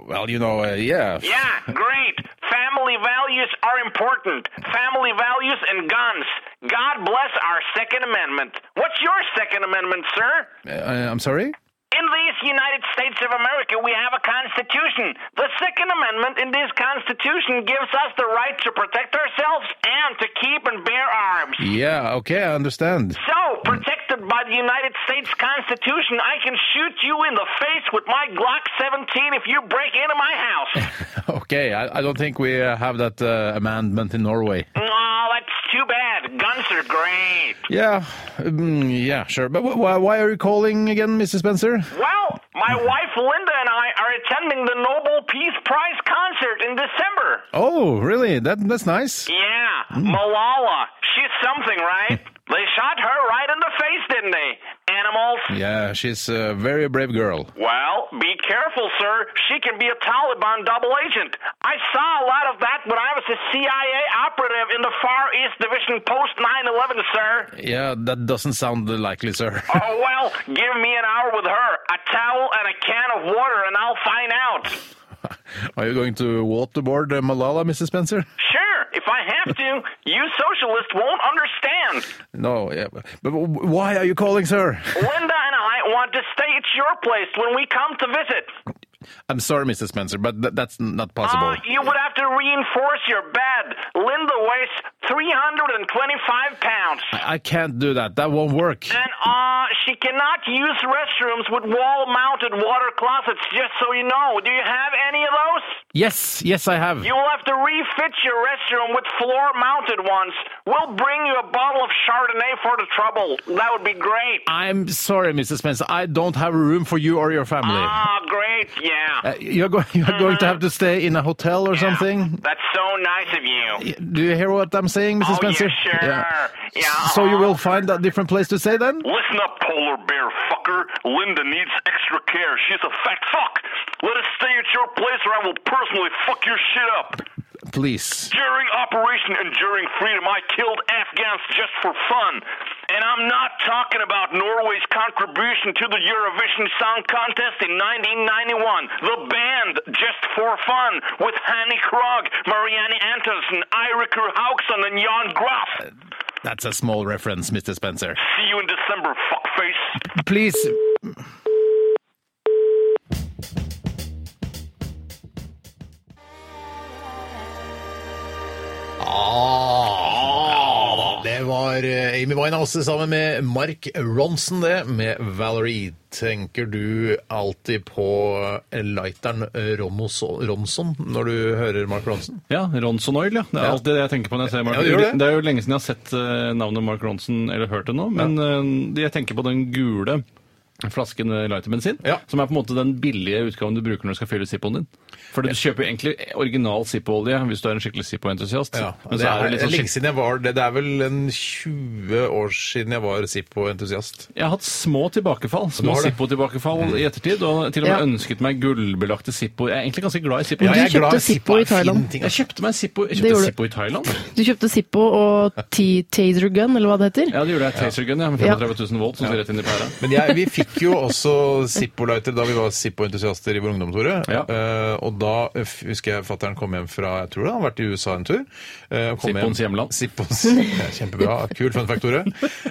Well, you know, uh, yeah.
Yeah, great. Family values are important. Family values and guns. God bless our Second Amendment. What's your Second Amendment, sir?
Uh, I'm sorry?
In these United States of America, we have a Constitution. The Second Amendment in this Constitution gives us the right to protect ourselves and to keep and bear arms.
Yeah, okay, I understand. [LAUGHS]
So, protected by the United States Constitution, I can shoot you in the face with my Glock 17 if you break into my house.
Okay, I, I don't think we uh, have that uh, amendment in Norway.
oh, that's too bad. Guns are great.
Yeah, mm, yeah, sure. But wh- why, why are you calling again, Mr. Spencer?
Well, my wife Linda and I are attending the Nobel Peace Prize concert in December.
Oh, really? That That's nice.
Yeah, Malala. She's something, right? they shot her right in the face, didn't they? Animals.
Yeah, she's a very brave girl.
Well, be careful, sir. She can be a Taliban double agent. I saw a lot of that when I was a CIA operative in the Far East Division post 9 11, sir.
Yeah, that doesn't sound likely, sir.
Oh, well, give me an hour with her, a towel, and a can of water, and I'll find out.
Are you going to waterboard uh, Malala, Mrs. Spencer?
Sure, if I have to, you socialists won't understand.
No, yeah. But wh- why are you calling, sir?
Linda and I want to stay at your place when we come to visit.
I'm sorry, Mr. Spencer, but th- that's not possible.
Uh, you would have to reinforce your bed. Linda weighs 325 pounds.
I-, I can't do that. That won't work.
And uh, she cannot use restrooms with wall-mounted water closets. Just so you know, do you have any of those?
Yes, yes, I have.
You will have to refit your restroom with floor-mounted ones. We'll bring you a bottle of Chardonnay for the trouble. That would be great.
I'm sorry, Mr. Spencer. I don't have room for you or your family.
Ah, great, yeah.
Uh, you're go- [LAUGHS] you're going to have to stay in a hotel or something.
That's so nice of you.
Y- Do you hear what I'm saying, Mrs.
Oh,
Spencer?
yeah, sure. Yeah,
So you
uh-huh.
will find a different place to stay then?
Listen up, polar bear fucker. Linda needs extra care. She's a fat fuck. Let us stay at your place or I will personally fuck your shit up.
Please.
During Operation Enduring Freedom, I killed Afghans just for fun. And I'm not talking about Norway's contribution to the Eurovision Song Contest in 1991. The band, just for fun, with Hanny Krog, Marianne Antonsen, Eirikur Hauksson, and Jan Graf.
That's a small reference, Mr. Spencer.
See you in December, fuckface.
Please.
Det var eh, Amy Winehouse sammen med Mark Ronson, det, med Valerie. Tenker du alltid på lighteren eh, Romos- Romson når du hører Mark Ronson?
Ja, Ronson Oil, ja. Det er
Ja.
alltid det jeg tenker på når jeg ser Mark.
Ja, du gjør det.
det. er jo lenge siden jeg har sett eh, navnet Mark Ronson, eller hørt det nå, men eh, jeg tenker på den gule flasken med lighterbensin,
Ja.
som er på en måte den billige utgaven du bruker når du skal fylle Zippoen din. For du kjøper jo egentlig original Zippo-olje hvis du er en skikkelig Zippo-entusiast.
Ja,
Men
det
så
er,
er det litt sånn
lenge
skikkelig...
siden jeg var det. Det er vel en 20 år siden jeg var Zippo-entusiast.
Jeg har hatt små tilbakefall, små
har det.
Zippo-tilbakefall i ettertid, og til og med
Ja.
ønsket meg gullbelagte Zippo. Jeg er egentlig ganske glad i Zippo.
Ja,
jeg er
kjøpte
glad
Zippo
er
i
en fin
Thailand.
ting,
Jeg
altså.
kjøpte meg Zippo, jeg
Det
kjøpte
gjorde du.
Zippo i Thailand.
Du kjøpte Zippo og T- Taser Gun, eller hva det heter.
Ja, det gjorde jeg. Taser gun, ja, med
Ja.
35 000 volt som ser rett inn i pæra.
Men jeg, vi fikk jo også Zippo-lighter da vi var Zippo-entusiaster i vår ungdomsåre.
Ja.
Eh, og da f- husker jeg fatter'n kom hjem fra jeg tror det, han har vært i USA en tur. Eh, kom
Zippoens
hjem-
hjemland.
Zippoens, [LAUGHS] ja, kjempebra. Kul fun fact, Tore.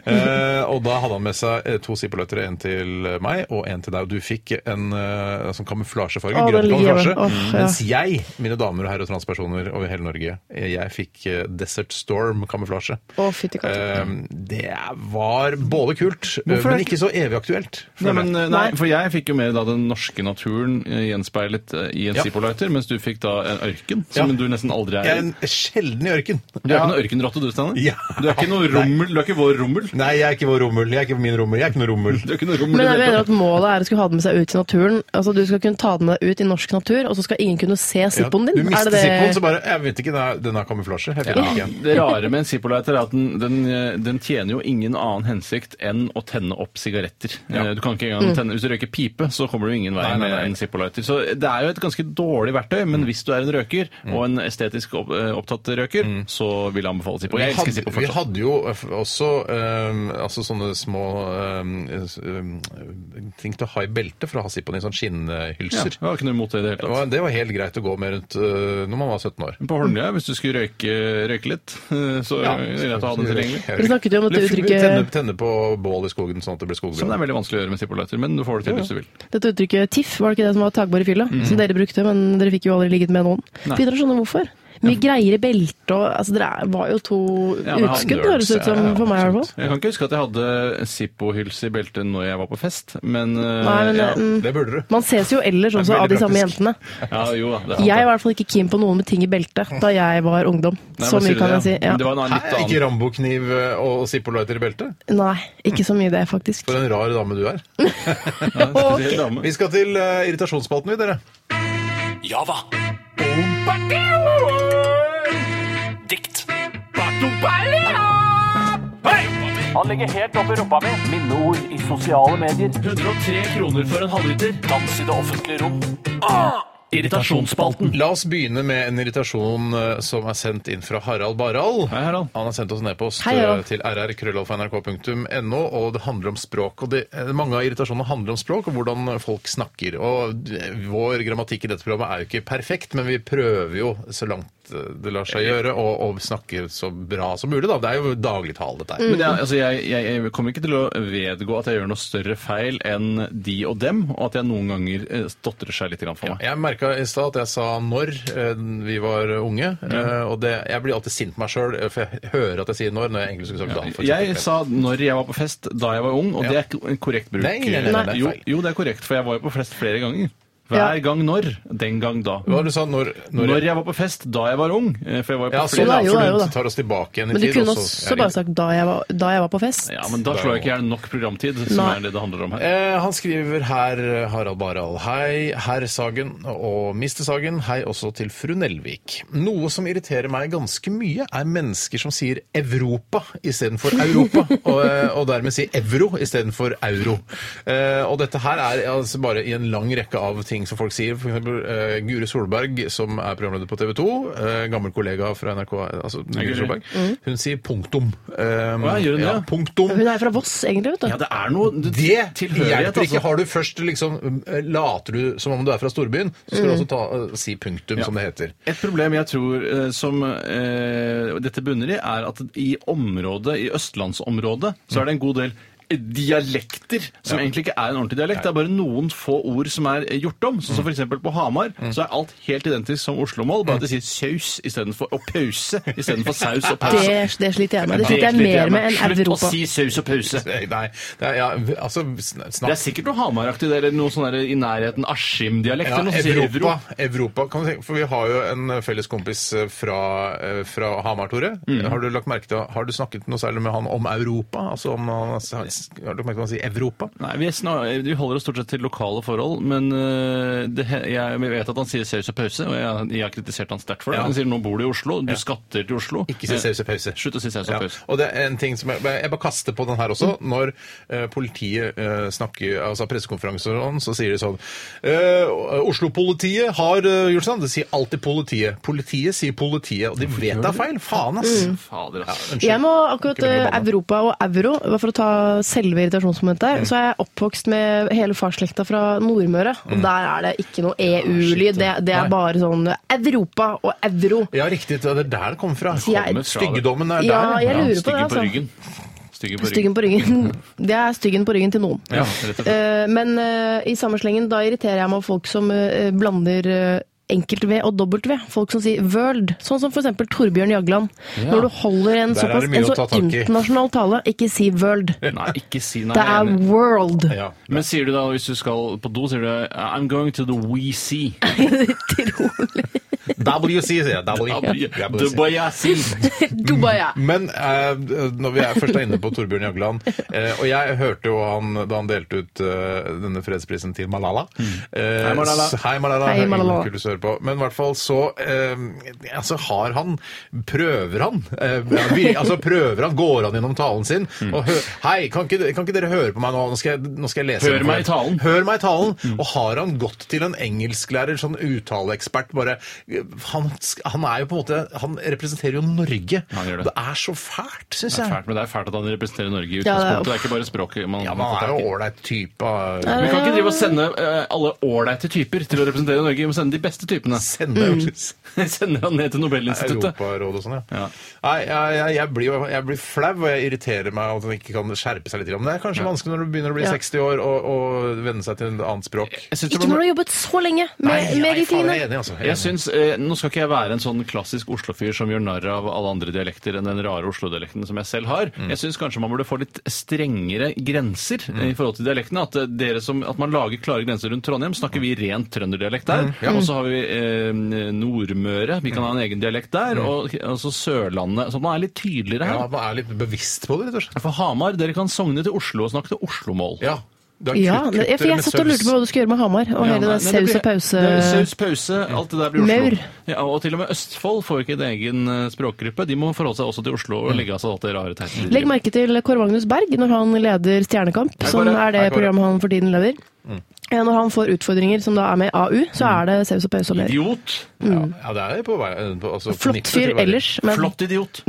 Eh, og da hadde han med seg eh, to Zippo-lightere. En til meg og en til deg. Og du fikk en eh, sånn kamuflasjefarge.
Å,
grønn
den ligger
kamuflasje.
jeg med. Åh, ja.
Mens jeg, mine damer og herrer og transpersoner over hele Norge, eh, jeg fikk eh, Desert Storm-kamuflasje.
Å, fytti katta.
Um, Det var både kult, eh,
Hvorfor er
men
det
ikke så evig aktuelt.
Nei,
føler jeg.
men, eh, nei, for jeg fikk jo mer da den norske naturen eh, gjenspeilet eh, i en
Ja.
Zippo-lighter, mens du fikk da en ørken,
Ja.
som du nesten aldri
jeg er
er i.
en sjelden i ørken.
Du er ikke noe ørkenrotte, du, Steinar.
Ja.
Du er ikke noe rommel. Du er ikke vår rommel.
Nei, jeg er ikke vår rommel. Jeg er ikke min rommel. Jeg er ikke noe rommel.
Du er ikke noe rommel.
Men
i
jeg
det hele
mener
tatt.
at målet er å skulle ha det med seg ut i naturen. Altså, Du skal kunne ta det med deg ut i norsk natur, og så skal ingen kunne se
Ja,
Zippoen din.
Du
Er
mister
det det-
zippoen, så bare Jeg vet ikke, den er- den har kamuflasje. Jeg finner den ikke.
Det rare med en Zippo-lighter er at den, den, eh, den tjener jo ingen annen hensikt enn å tenne opp sigaretter. Eh, Eh, Du kan ikke engang tenne, Hvis du røyker pipe, så kommer du ingen vei
Nei, nei, nei. Mm.
med en Zippo-lighter. Så det er jo et ganske dårlig verktøy, men hvis du er en røyker, og en estetisk opp, eh, opptatt røyker, så vil jeg anbefale Zippo. Jeg
vi
elsker
Mm. hadde,
Zippo
vi
fortsatt.
hadde jo eh, også eh, altså sånne små eh, s- eh, ting til å ha i beltet for å ha Zippon i sånn
Ja,
skinnhylser.
jeg har ikke noe imot det i det hele
Det,
tatt.
var, det var helt greit å gå med rundt eh, når man var 17 år.
Men På Holmlia, hvis du skulle røyke, røyke litt, [LAUGHS] eh, så er det greit å ha den tilgjengelig.
Vi snakket jo om at
Eller
det
tenne,
uttrykket,
tenne på bål i skogen sånn at det blir
Som det
skogbrann.
er veldig vanskelig å gjøre med Zippo-lighter, men du får det til hvis du vil.
dette uttrykket TIFF, var det ikke det som var tagbar i fylla?
Mm.
Som dere brukte, men dere fikk jo aldri ligget med noen. Begynner å skjønne hvorfor. Mye greier i beltet og altså, Dere er- var jo to
Ja, men han
utskudd,
nerds,
høres det ut som,
ja, ja,
for meg i hvert fall.
Jeg kan ikke huske at jeg hadde Zippo-hylse i beltet når jeg var på fest, men eh,
Nei, men,
ja.
mm,
Det burde du.
Man ses jo ellers også
veldig
av de samme
praktisk.
jentene.
ja, jo, da, det er sant,
Jeg
det.
var i hvert fall ikke keen på noen med ting i beltet da jeg var ungdom.
Nei,
Så
men sier
mye
du
kan jeg si.
det,
Ja.
Men Det var en annen,
Hæ,
litt annen.
ikke rambokniv eh, og zippo-lighter i beltet?
Nei, ikke så mye det, faktisk.
For en rar dame du er.
Ja, spesiell dame.
Vi skal til eh, irritasjonsspalten, vi, dere.
Java. Dikt. Han ligger helt oppi rumpa mi. Minneord i sosiale medier. 103 kroner for en halvliter. Dans i det offentlige rom. Irritasjonsspalten.
La oss begynne med en irritasjon eh, som er sendt inn fra Harald Barald.
Hei, Harald.
Han har sendt oss en e-post
Hei,
eh,
Harald.
til rr.krøllalfa.nrk.no, og det handler om språk. og det, eh, Mange av irritasjonene handler om språk og hvordan folk snakker. og eh, Vår grammatikk i dette programmet er jo ikke perfekt, men vi prøver jo så langt eh, det lar seg gjøre å å snakke så bra som mulig. da. Det er jo dagligtale,
Mm.
dette her.
Men jeg, altså jeg, jeg, jeg kommer ikke til å vedgå at jeg gjør noe større feil enn de og dem, og at jeg noen ganger eh, stotrer seg litt grann for meg.
Jeg merka i stad at jeg sa når eh, vi var unge. eh, Og det, jeg blir alltid sint på meg sjøl, for jeg hører at jeg sier når når jeg egentlig skulle sagt da. for
Jeg
eksempel.
sa når jeg var på fest da jeg var ung, og det er ikke en korrekt bruk.
Nei, nei, nei, nei, det er
jo,
feil.
jo, det er korrekt, for jeg var jo på fest flere ganger.
Ja.
Hver gang når, den gang da.
Hva var det du sa? Når, når,
Når jeg var på fest da jeg var ung, eh, for jeg var jo
Ja,
på
sånn,
flere
ja,
da, jo
for
da,
du
jo da.
tar oss tilbake igjen i
Men du
tid.
kunne
og så-
også bare sagt da jeg var, da jeg var på fest.
Ja, men da slår jeg ikke i hjel nok programtid, som er det det handler om her.
Eh, han skriver her, eh, Harald Barald, hei, herr Sagen og mister Sagen, hei også til fru Nelvik. Noe som irriterer meg ganske mye er mennesker som sier Europa istedenfor Europa, og, eh, og dermed sier euro istedenfor euro. Eh, og dette her er altså bare i en lang rekke av ting som folk sier, f.eks. Eh, Guri Solberg, som er programleder på TV 2, eh, gammel kollega fra NRK, altså Guri
Guri. Mm.
Solberg, hun sier punktum. Eh,
Å, ja, gjør hun det?
punktum.
Hun er fra Voss, egentlig. vet du.
Ja, det er noe det-
Det
tilhørighet,
hjelper ikke.
altså.
Har du først liksom eh, Later du som om du er fra storbyen, så skal du også ta, eh, si punktum, som det heter. [LAUGHS]
Et problem jeg tror eh, som eh, dette bunner i, er at i området, i østlandsområdet, så er det en god del dialekter, som egentlig ikke er en ordentlig dialekt. Det er bare noen få ord som er eh, gjort om. Sånn som for eksempel på Hamar, så er alt helt identisk som Oslo-mål, bare at de sier saus istedenfor og pause istedenfor saus og pause.
Det, det sliter jeg med. Det sliter jeg
sliter
mer med enn
Slutt
Europa.
å si saus og pause.
Nei, nei, det er, ja, altså sn-
Det er
snakk
sikkert noe Hamar-aktig det, eller noe sånn der i nærheten Askim-dialekt.
ja,
eller noe som sier
Europa,
Evro.
Europa kan du tenke, for Vi har jo en felles kompis eh, fra, eh, fra Hamar, Tore.
Mm.
Har du lagt merke til, har du snakket noe særlig med han om Europa? Altså om han, har du lagt merke til at han sier Europa?
Nei, vi, snar, vi holder oss stort sett til lokale forhold, men øh, det, he- jeg vi vet at han sier saus og pause, og jeg, jeg har kritisert han sterkt for det.
Ja.
Han sier nå bor du i Oslo, du skatter til Oslo.
Ikke si
Eh,
saus og pause.
Slutt å si saus og
Ja.
pause.
Og det er en ting som jeg, jeg bare kaster på den her også. Når eh, politiet eh, snakker, altså pressekonferanser og sånn, så sier de sånn eh, Oslo-politiet har eh, gjort sånn. Det sier alltid politiet. Politiet sier politiet, og de vet det er feil. Faen, ass!
Fader, altså.
Mm. Jeg må akkurat eh, Europa og euro, bare for å ta selve irritasjonsmomentet
Mm.
her, så er jeg oppvokst med hele farsslekta fra Nordmøre, og der er det ikke noe EU-lyd. Det, det
Mm. Nei.
er bare sånn Europa og euro.
Ja, riktig. Det er der det kommer fra.
Jeg-
Styggedommen er
Ja,
der.
jeg lurer på det,
Styggen på
altså.
ryggen. Styggen på ryggen.
Styggen på ryggen.
Mm.
[LAUGHS] Det er styggen på ryggen til noen.
Ja, rett og slett.
Eh, Men eh, i samme slengen, da irriterer jeg meg over folk som eh, blander eh, enkelt-V og dobbelt-V. Folk som sier 'world', sånn som for eksempel Torbjørn Jagland. Når du holder en,
Der er
såpass,
det mye
en
å ta
så
tak i.
internasjonal tale, ikke si 'world'.
Nei, ikke si nei.
Eh, Det
jeg er
er
enig.
'world'.
Ja.
Men sier
[LAUGHS]
[LAUGHS]
du da, hvis du skal på do, sier du I'm going to the WC.
Utrolig.
WC, sier jeg.
Ja.
W- WC.
Dubayasi.
Dubai, ja.
Men eh, når vi er først er inne på Torbjørn Jagland eh, Og jeg hørte jo han da han delte ut eh, denne fredsprisen til Malala. Eh,
Mm. Hei, Malala.
s- Hei, Malala.
Hei,
Hei, Malala.
Malala.
Kult å høre på. Men i hvert fall så eh, altså har han Prøver han? Eh, ja, vir- altså prøver han, Går han gjennom talen sin?
Mm.
Og hø Hei, kan ikke, kan ikke dere høre på meg nå? Nå skal jeg, nå skal jeg lese.
Hør
den for
meg i
dere.»
talen. Mm.
Hør meg i talen. Og har han gått til en engelsklærer, sånn uttaleekspert, bare han, han er jo på en måte Han representerer jo Norge.
Han gjør det.
er så fælt, syns
Det er
jeg.
fælt, men det er fælt at han representerer Norge i
det er-
utgangspunktet. Det er ikke bare språket man
Ja,
man
men
får
han er
tak i.
jo ålreit type. av-
Vi kan ikke drive og sende eh, alle ålreite typer til å representere Norge. Vi må sende de beste typene. [LAUGHS]
Sende mm.
Sende han ned til Nobelinstituttet.
Europarådet og sånn, ja.
Ja.
Nei, jeg, jeg, jeg, blir, jo- jeg blir flau, og jeg irriterer meg at han ikke kan skjerpe seg litt. Men det er kanskje vanskelig når du begynner å bli
Ja.
60 år og, og venne seg til et annet språk.
Jeg synes det
Ikke
var-
når du har jobbet så lenge med, med de
faen,
tingene.
jeg er enig, altså. Jeg er
Jeg
enig.
synes, eh, Nå skal ikke jeg være en sånn klassisk Oslo-fyr som gjør narr av alle andre dialekter enn den rare Oslo-dialekten som jeg selv har.
Mm.
Jeg syns kanskje man burde få litt strengere grenser eh, i forhold til dialektene. At, eh, dere som, at man lager klare grenser rundt Trondheim. Snakker vi rent trønderdialekt der?
Mm.
Og så har vi eh, Nordmøre, vi kan ha en egen dialekt der. Og og så Sørlandet. Så man er litt tydeligere
Mm. Ja,
her.
man er litt bevisst på det, rett og slett.
For Hamar, dere kan sogne til Oslo og snakke til Oslo-mål.
Ja. Da
Ja,
kutter-
det, for
kutter
jeg
med
satt og lurte
saus.
på hva du skulle gjøre med Hamar. Og
Ja,
hele
nei,
det
nei, det
saus og
blir-
pause.
det er Saus, pause, alt det der blir Oslo.
Maur.
Ja, og til og med Østfold får ikke en egen eh, språkgruppe. De må forholde seg også til Oslo og legge av seg alt det rare teite. de
Mm. Legg
driver med.
merke til Kåre Magnus Berg når han leder Stjernekamp, som er det
Kåre.
programmet han for tiden leder. Ja, når han får utfordringer som da er med AU, så er det saus og pause og ler.
Idiot!
Ja, ja, det er på vei på- altså, på
Mm. Flott
nippet til
fyr
å være
ellers, men Mm.
Flott idiot.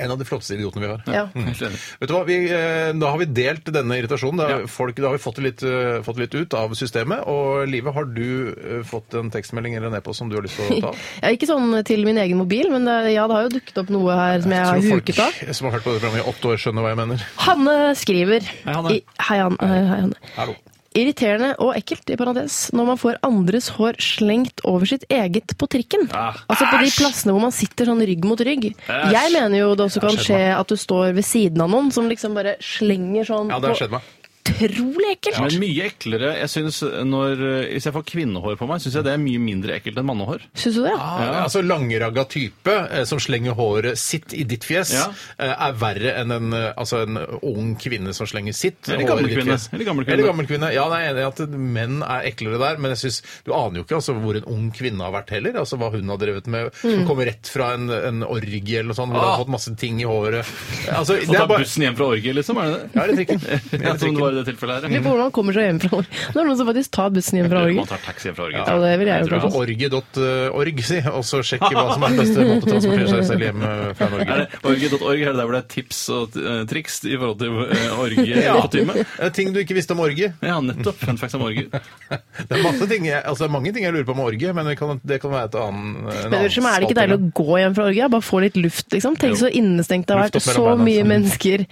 En av de flotteste idiotene vi har.
ja.
Helt enig.
Vet du hva, vi, eh, Da har vi delt denne irritasjonen. Da,
Ja.
folk, da har vi fått det, litt, eh, fått det litt ut av systemet. Og Live, har du eh, fått en tekstmelding eller en e-post som du har lyst til å ta?
Ja, ikke sånn til min egen mobil, men det, ja, det har jo dukket opp noe her som jeg har
tror folk
huket av.
som har hørt på dette programmet i åtte år, skjønner hva jeg mener.
Hanne skriver
Hei, Hanne.
I, hei, Hanne. Hei, Hanne.
Hallo.
Irriterende og ekkelt, i parentes, når man får andres hår slengt over sitt eget på trikken.
Ah.
altså på de plassene hvor man sitter sånn rygg mot rygg.
Æsj.
Jeg mener jo det også
har
kan
skjedd
skje at du står ved siden av noen som liksom bare slenger sånn
Ja, det har skjedd meg.
Utrolig ekkelt!
Men mye eklere. Jeg synes når, eh, Hvis jeg får kvinnehår på meg, syns jeg det er mye mindre ekkelt enn mannehår.
Syns du det?
Ah, Altså Langragga type eh, som slenger håret sitt i ditt fjes,
Ja.
eh, er verre enn en, eh, altså, en ung kvinne som slenger sitt
Eller
hår
gammel
i ditt
kvinne.
fjes.
Eller gammel kvinne.
Eller gammel kvinne. Ja, nei, jeg er enig i at menn er eklere der, men jeg synes, du aner jo ikke altså, hvor en ung kvinne har vært heller. Altså hva hun har drevet med. Hun kommer rett fra en, en orgie eller noe sånt, hvor hun
Ah.
har fått masse ting i håret. Altså,
Å
det
ta
er bare...
bussen hjem fra orgie, liksom? Er det det?
Ja, eller
[LAUGHS]
trikken.
Ja,
Eller
som
trikken.
det var i det tilfellet her.
Lurer på hvordan man kommer seg hjem fra Norge. Nå er det noen som faktisk tar bussen hjem fra
Man
Norge.
tar taxi hjem fra orgie.
Ja, det vil jeg jo
tror
kanskje.
altså.
Orgie.org, si, og så sjekke hva som er beste måte å transportere seg selv hjem eh, fra Norge.
[LAUGHS] Er det Orgie.org er det der hvor det er tips og eh, triks i forhold til eh,
[LAUGHS]
orgie-kutyme?
Eh, Ting du ikke visste om orgie.
Ja, nettopp. Fun facts om orgie.
Det er, masse ting, jeg- altså, det er mange ting jeg lurer på med orgie, men det kan, det kan være et annen en annen
Men ellers så er det ikke
spalte.
deilig å gå hjem fra Norge? Bare få litt luft, liksom. Tenk så innestengt det har
Luft
vært.
opp mellom
Så
beina,
mye
sånn.
mennesker.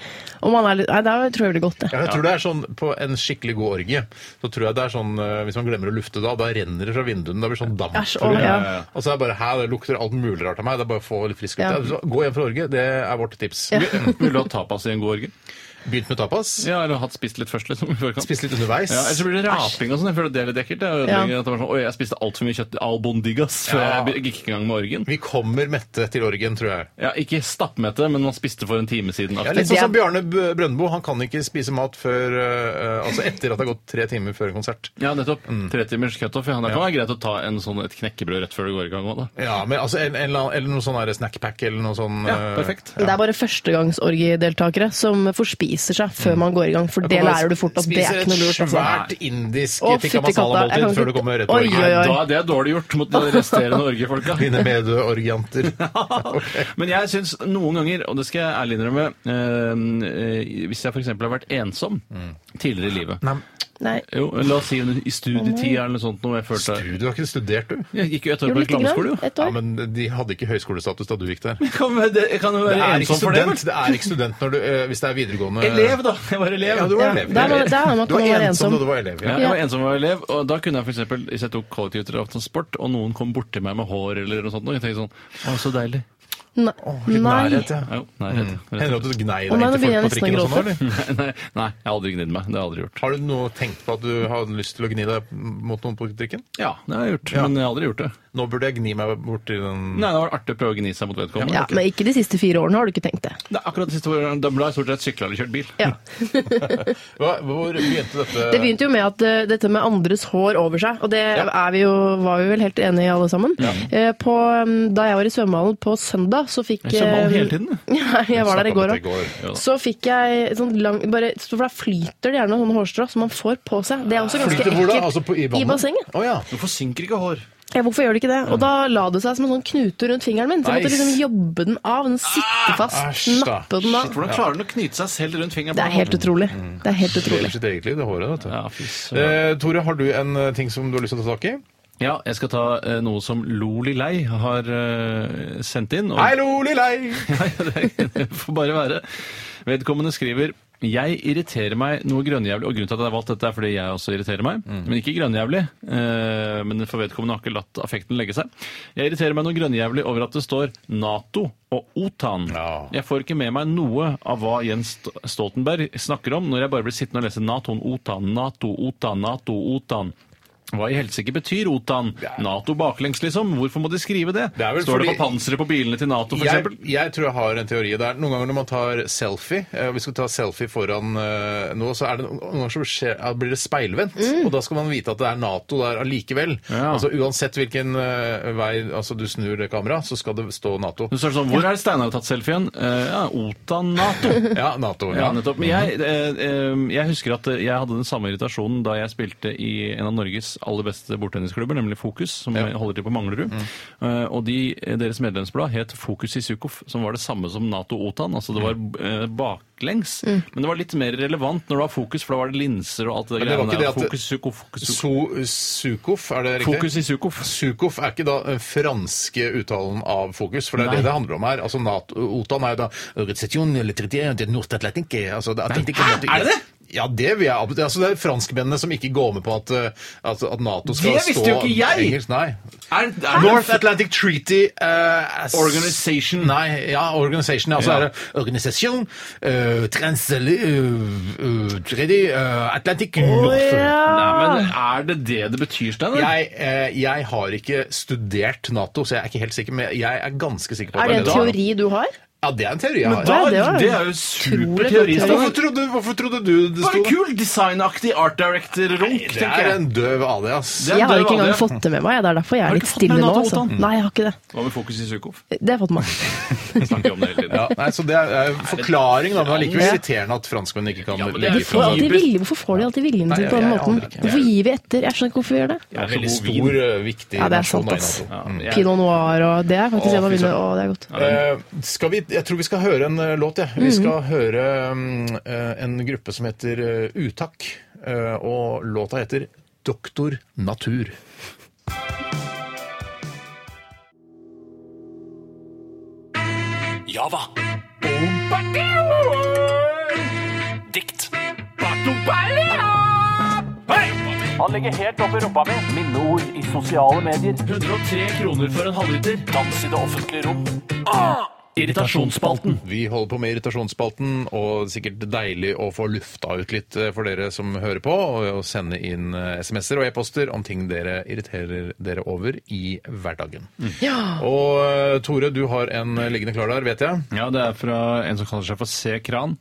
Og man er litt Nei, det er- jeg tror jeg blir godt, det.
Ja, jeg tror det er sånn, På en skikkelig god orgie så tror jeg det er sånn eh, Hvis man glemmer å lufte da, da renner det fra vinduene. Det blir sånn damp.
Æsj, å, ja.
Og så er det bare her, det lukter alt mulig rart av meg. Det er bare å få litt frisk luft.
Ja.
Ja, så Gå hjem fra orgie, det er vårt tips.
Vil du ha tapas i en god orgie?
Begynt med tapas.
Ja, eller hatt spist litt først, liksom. i forkant.
Spist litt underveis.
Ja, Ellers så blir det raping og sånn. Jeg føler at det er litt ekkelt. Det er ødeleggende at det var sånn, Oi, jeg spiste altfor mye kjøtt albondigas før
Ja.
jeg gikk i gang med orgien.
Vi kommer mette til orgien, tror jeg.
Ja, ikke stappmette, men man spiste for en time siden.
Ja,
aktivt.
litt sånn som Bjarne B- Brøndbo. Han kan ikke spise mat før eh, Altså etter at det har gått tre timer før en konsert.
Ja, nettopp. Tretimers cutoff. Ja, det kan være greit å ta en sånn, et knekkebrød rett før du går i gang òg, da.
Ja, men altså en, en, eller annen- eller noe sånn her snackpack eller noe sånn
Ja,
eh,
perfekt.
Det er bare førstegangsorgiedeltakere som forspiser seg før
Mm.
man går i gang, for det lærer du fort at det er ikke noe lurt.
Spiser et
Altså.
svært indisk
Å,
tikka
fytti katta, jeg kan
masala-måltid
ikke-
før du kommer rett på
Oi,
orgien.
oi, oi.
Da, det er dårlig gjort mot de resterende orgiefolka.
Dine
[LAUGHS]
medorgianter.
Men jeg syns noen ganger, og det skal jeg ærlig innrømme eh, eh, Hvis jeg f.eks. har vært ensom tidligere i livet
Nei.
Jo, la oss si i studietida eller noe sånt noe jeg følte
Du, du har ikke studert, du.
Jeg gikk jo et år
Jo,
på
lite
reklameskole,
grann.
jo.
Et
Ja,
år.
men De hadde ikke høyskolestatus da du gikk der.
Jeg [LAUGHS] Kan, være- jeg kan jo være
Det er ikke
ensom for det.
student, det er ikke student når du, eh, hvis det er videregående
vel? Elev, da. Jeg var elev.
Ja, du var
Ja,
elev.
der var- der har man
du var
kunnet være ensom.
ensom da du var elev.
Ja,
Ja.
jeg var ensom og elev, og da kunne jeg for eksempel, hvis jeg tok kollektivtransport, og noen kom borti meg med hår eller noe sånt, og jeg tenkte sånn Å, så deilig.
Nei. Nei.
Nærhet, ja.
Jo, nei, rett, rett.
Hender det at du gnei
Å,
deg
nei, nå
inntil folk på
begynner jeg nesten å
trikken og sånn,
gråte.
[LAUGHS]
eller?
Nei, nei, jeg har aldri gnidd meg. Det har jeg aldri gjort.
Har du noe tenkt på at du har lyst til å gni deg mot noen på trikken?
Ja, Mm. det har jeg gjort,
Ja.
men jeg har aldri gjort det.
Nå burde jeg gni meg bort til den
Nei, Det var artig å prøve å gni seg mot vedkommende.
Ja, men ikke de siste fire årene har du ikke tenkt det.
Det er akkurat det siste året. Da ble jeg stort sett sykla eller kjørt bil.
Ja.
Hva, Hvor begynte dette?
Det begynte jo med at eh, dette med andres hår over seg, og det er vi jo, var vi vel helt enige i alle sammen. Eh, på, mm, da jeg var i svømmehallen på søndag, så fikk
Jeg svømmer
eh,
hele tiden. jeg.
[LAUGHS] Ja, jeg var der i går
Snakket om
òg.
dette i går.
Så fikk jeg et sånt lang, bare, så for da flyter det gjerne sånne hårstrå som man får på seg. Det er også ganske
Flyter hvor da?
ekkelt.
Altså på, i vannet?
bassenget.
Å ja.
Hvorfor synker ikke hår?
Ja, hvorfor gjør det ikke det? Og da la det seg som en sånn knute rundt fingeren min, så jeg måtte
Nice.
liksom jobbe den av. Den sitter fast,
æsj, da.
nappe den
Shit,
av.
Hvordan klarer den å knyte seg selv rundt fingeren?
Det er helt utrolig. Det er helt
Lever
utrolig.
sitt eget liv, det håret. vet du.
Ja, fy søren.
Eh, Tore, har du en eh, ting som du har lyst til å ta tak i?
ja, jeg skal ta eh, noe som Loli Lei har eh, sendt inn. og-
Hei, loli, lei!
[LAUGHS] Nei, det, det får bare være. Vedkommende skriver jeg irriterer meg noe grønnjævlig, og grunnen til at jeg har valgt dette er fordi jeg også irriterer meg,
Mm.
men ikke grønnjævlig, eh, men for vedkommende har ikke latt affekten legge seg. Jeg irriterer meg noe grønnjævlig over at det står NATO og OTAN.
Ja.
Jeg får ikke med meg noe av hva Jens St- Stoltenberg snakker om når jeg bare blir sittende og lese NATO, OTAN, NATO, OTAN, NATO, OTAN. Hva i helsike betyr OTAN? Nato baklengs, liksom? Hvorfor må de skrive det?
Det er vel
Står det
fordi-
på panseret på bilene til Nato, for
Jeg,
eksempel?
jeg tror jeg har en teori der. Noen ganger når man tar selfie eh, Vi skal ta selfie foran eh, noe, så er det noen ganger så skjer, ja, blir det speilvendt.
Mm.
Og da skal man vite at det er Nato der allikevel.
Ja.
Altså Uansett hvilken eh, vei altså, du snur det kameraet, så skal det stå Nato.
Så er det sånn, Hvor er det Steinar har tatt selfien? Eh, ja, Otan Nato.
[LAUGHS] Ja, Nato.
Ja,
Ja.
nettopp. Men jeg, eh, eh, jeg husker at jeg hadde den samme irritasjonen da jeg spilte i en av Norges aller beste bordtennisklubber, nemlig Fokus, som holder til på Manglerud.
Mm.
Eh, og de, deres medlemsblad het Fokus i Sukhof, som var det samme som Nato Otan. Altså det var
Mm.
eh, baklengs, men det var litt mer relevant når det var fokus, for da var det linser og alt det
Men det var
greiene
ikke det
der.
at det-
Fokus, Sukhof, fokus, Sukhof.
So, Sukhof, er det riktig?
fokus i Sukhof.
Sukhof er ikke da den franske uttalen av fokus, for det er det det handler om her. Altså, NATO, OTAN er jo da «Organisation le traité de Nord-Atlantique». Altså, det Atlantikken-
Hæ? Er det det?
Ja, det vil jeg ab- altså, Det er franskmennene som ikke går med på at, eh, altså, at Nato skal
Det visste jo
stå
ikke jeg!
engelsk. Nei.
Er, er
North Atlantic Treaty eh, as-
Organization.
Nei, ja, Organization. Altså
Ja.
er det Organisation eh, Transali... eh, eh, Treaty eh, Atlantic North.
Nei, men er det det det betyr, Steinar?
Jeg, eh, jeg har ikke studert Nato, så jeg er ikke helt sikker, men jeg er ganske sikker på at
Er det en
det er det.
teori du har?
da. Ja, det er en teori jeg
da-
har.
Da,
Ja, det var-
det er jo
Utrolig
superteori.
flott
Steinar.
Hvorfor trodde, hvorfor trodde du det
Bare
sto
kul designaktig art director-runk,
Det
tenker
er
jeg.
en døv AD, ass.
Det er
Jeg har
døv
ikke
alder.
engang fått det med meg. Det er derfor jeg
Har
er
du
litt
ikke fått med
stille nå.
NATO,
Altså.
Otan?
Nei, jeg har ikke det.
Hva med fokus i Sukhof?
Det har jeg fått med meg.
Vi Snakker om det hele tiden.
Ja, nei, så det er er forklaring, da, men allikevel
Ja.
irriterende at franskmennene ikke kan
Ja, men det er
legge
jo
Får
fra seg
alltid vilje. Hvorfor får de alltid viljen sin
jeg-
på den
jeg
måten?
aner ikke.
Hvorfor gir vi etter? Jeg skjønner ikke hvorfor vi gjør det.
Det er en veldig
så god
stor, eh, viktig
Ja, det er
nasjon
sant,
da i
ass.
Nato.
Ja, jeg-
Pinot noir og det er faktisk
Å,
en av
fy
mine
søren.
Å, det er godt.
Eh, skal vi, jeg tror vi skal høre en eh, låt, jeg. Vi skal høre mm, eh, en gruppe som heter eh, Utakk, eh, og låta heter Doktor Natur.
Java. Dikt. Han ligger helt oppi rumpa mi. Minneord i sosiale medier.
103 kroner for en halvliter. Ah!
Dans i det offentlige rom.
Irritasjonsspalten.
Vi holder på med irritasjonsspalten, og sikkert deilig å få lufta ut litt eh, for dere som hører på, og og sende inn eh, SMS-er og e-poster om ting dere irriterer dere over i hverdagen.
Mm.
Og eh, Tore, du har en eh, liggende klar der, vet jeg.
Ja, det er fra en som kaller seg for C. Kran.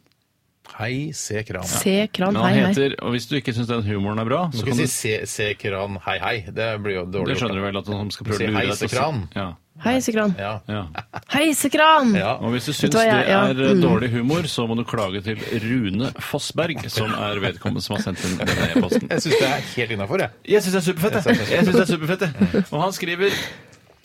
Hei, se kran.
Se kran,
Men
hei,
han
hei.
heter, og hvis du ikke syns den humoren er bra,
Du
så
kan
kan du
ikke si se, se kran, hei, hei. Det blir jo dårlig.
Det skjønner du
gjort,
vel at han skal prøve
Si
å lure
hei,
deg til å
Se Kran.
si- Ja.
Hei, Sekran.
da. [LAUGHS] Ja.
ja.
Hei, Sekran!
Ja.
Og hvis du
Vet
syns
du hva, jeg- mm.
det
ja,
er dårlig humor, så må du klage til Rune Fossberg, som er vedkommende som har sendt inn denne
[LAUGHS]
e-posten.
Jeg syns det er helt innafor, jeg.
Jeg syns det er superfett, jeg. jeg, synes det er superfett, jeg. Og han skriver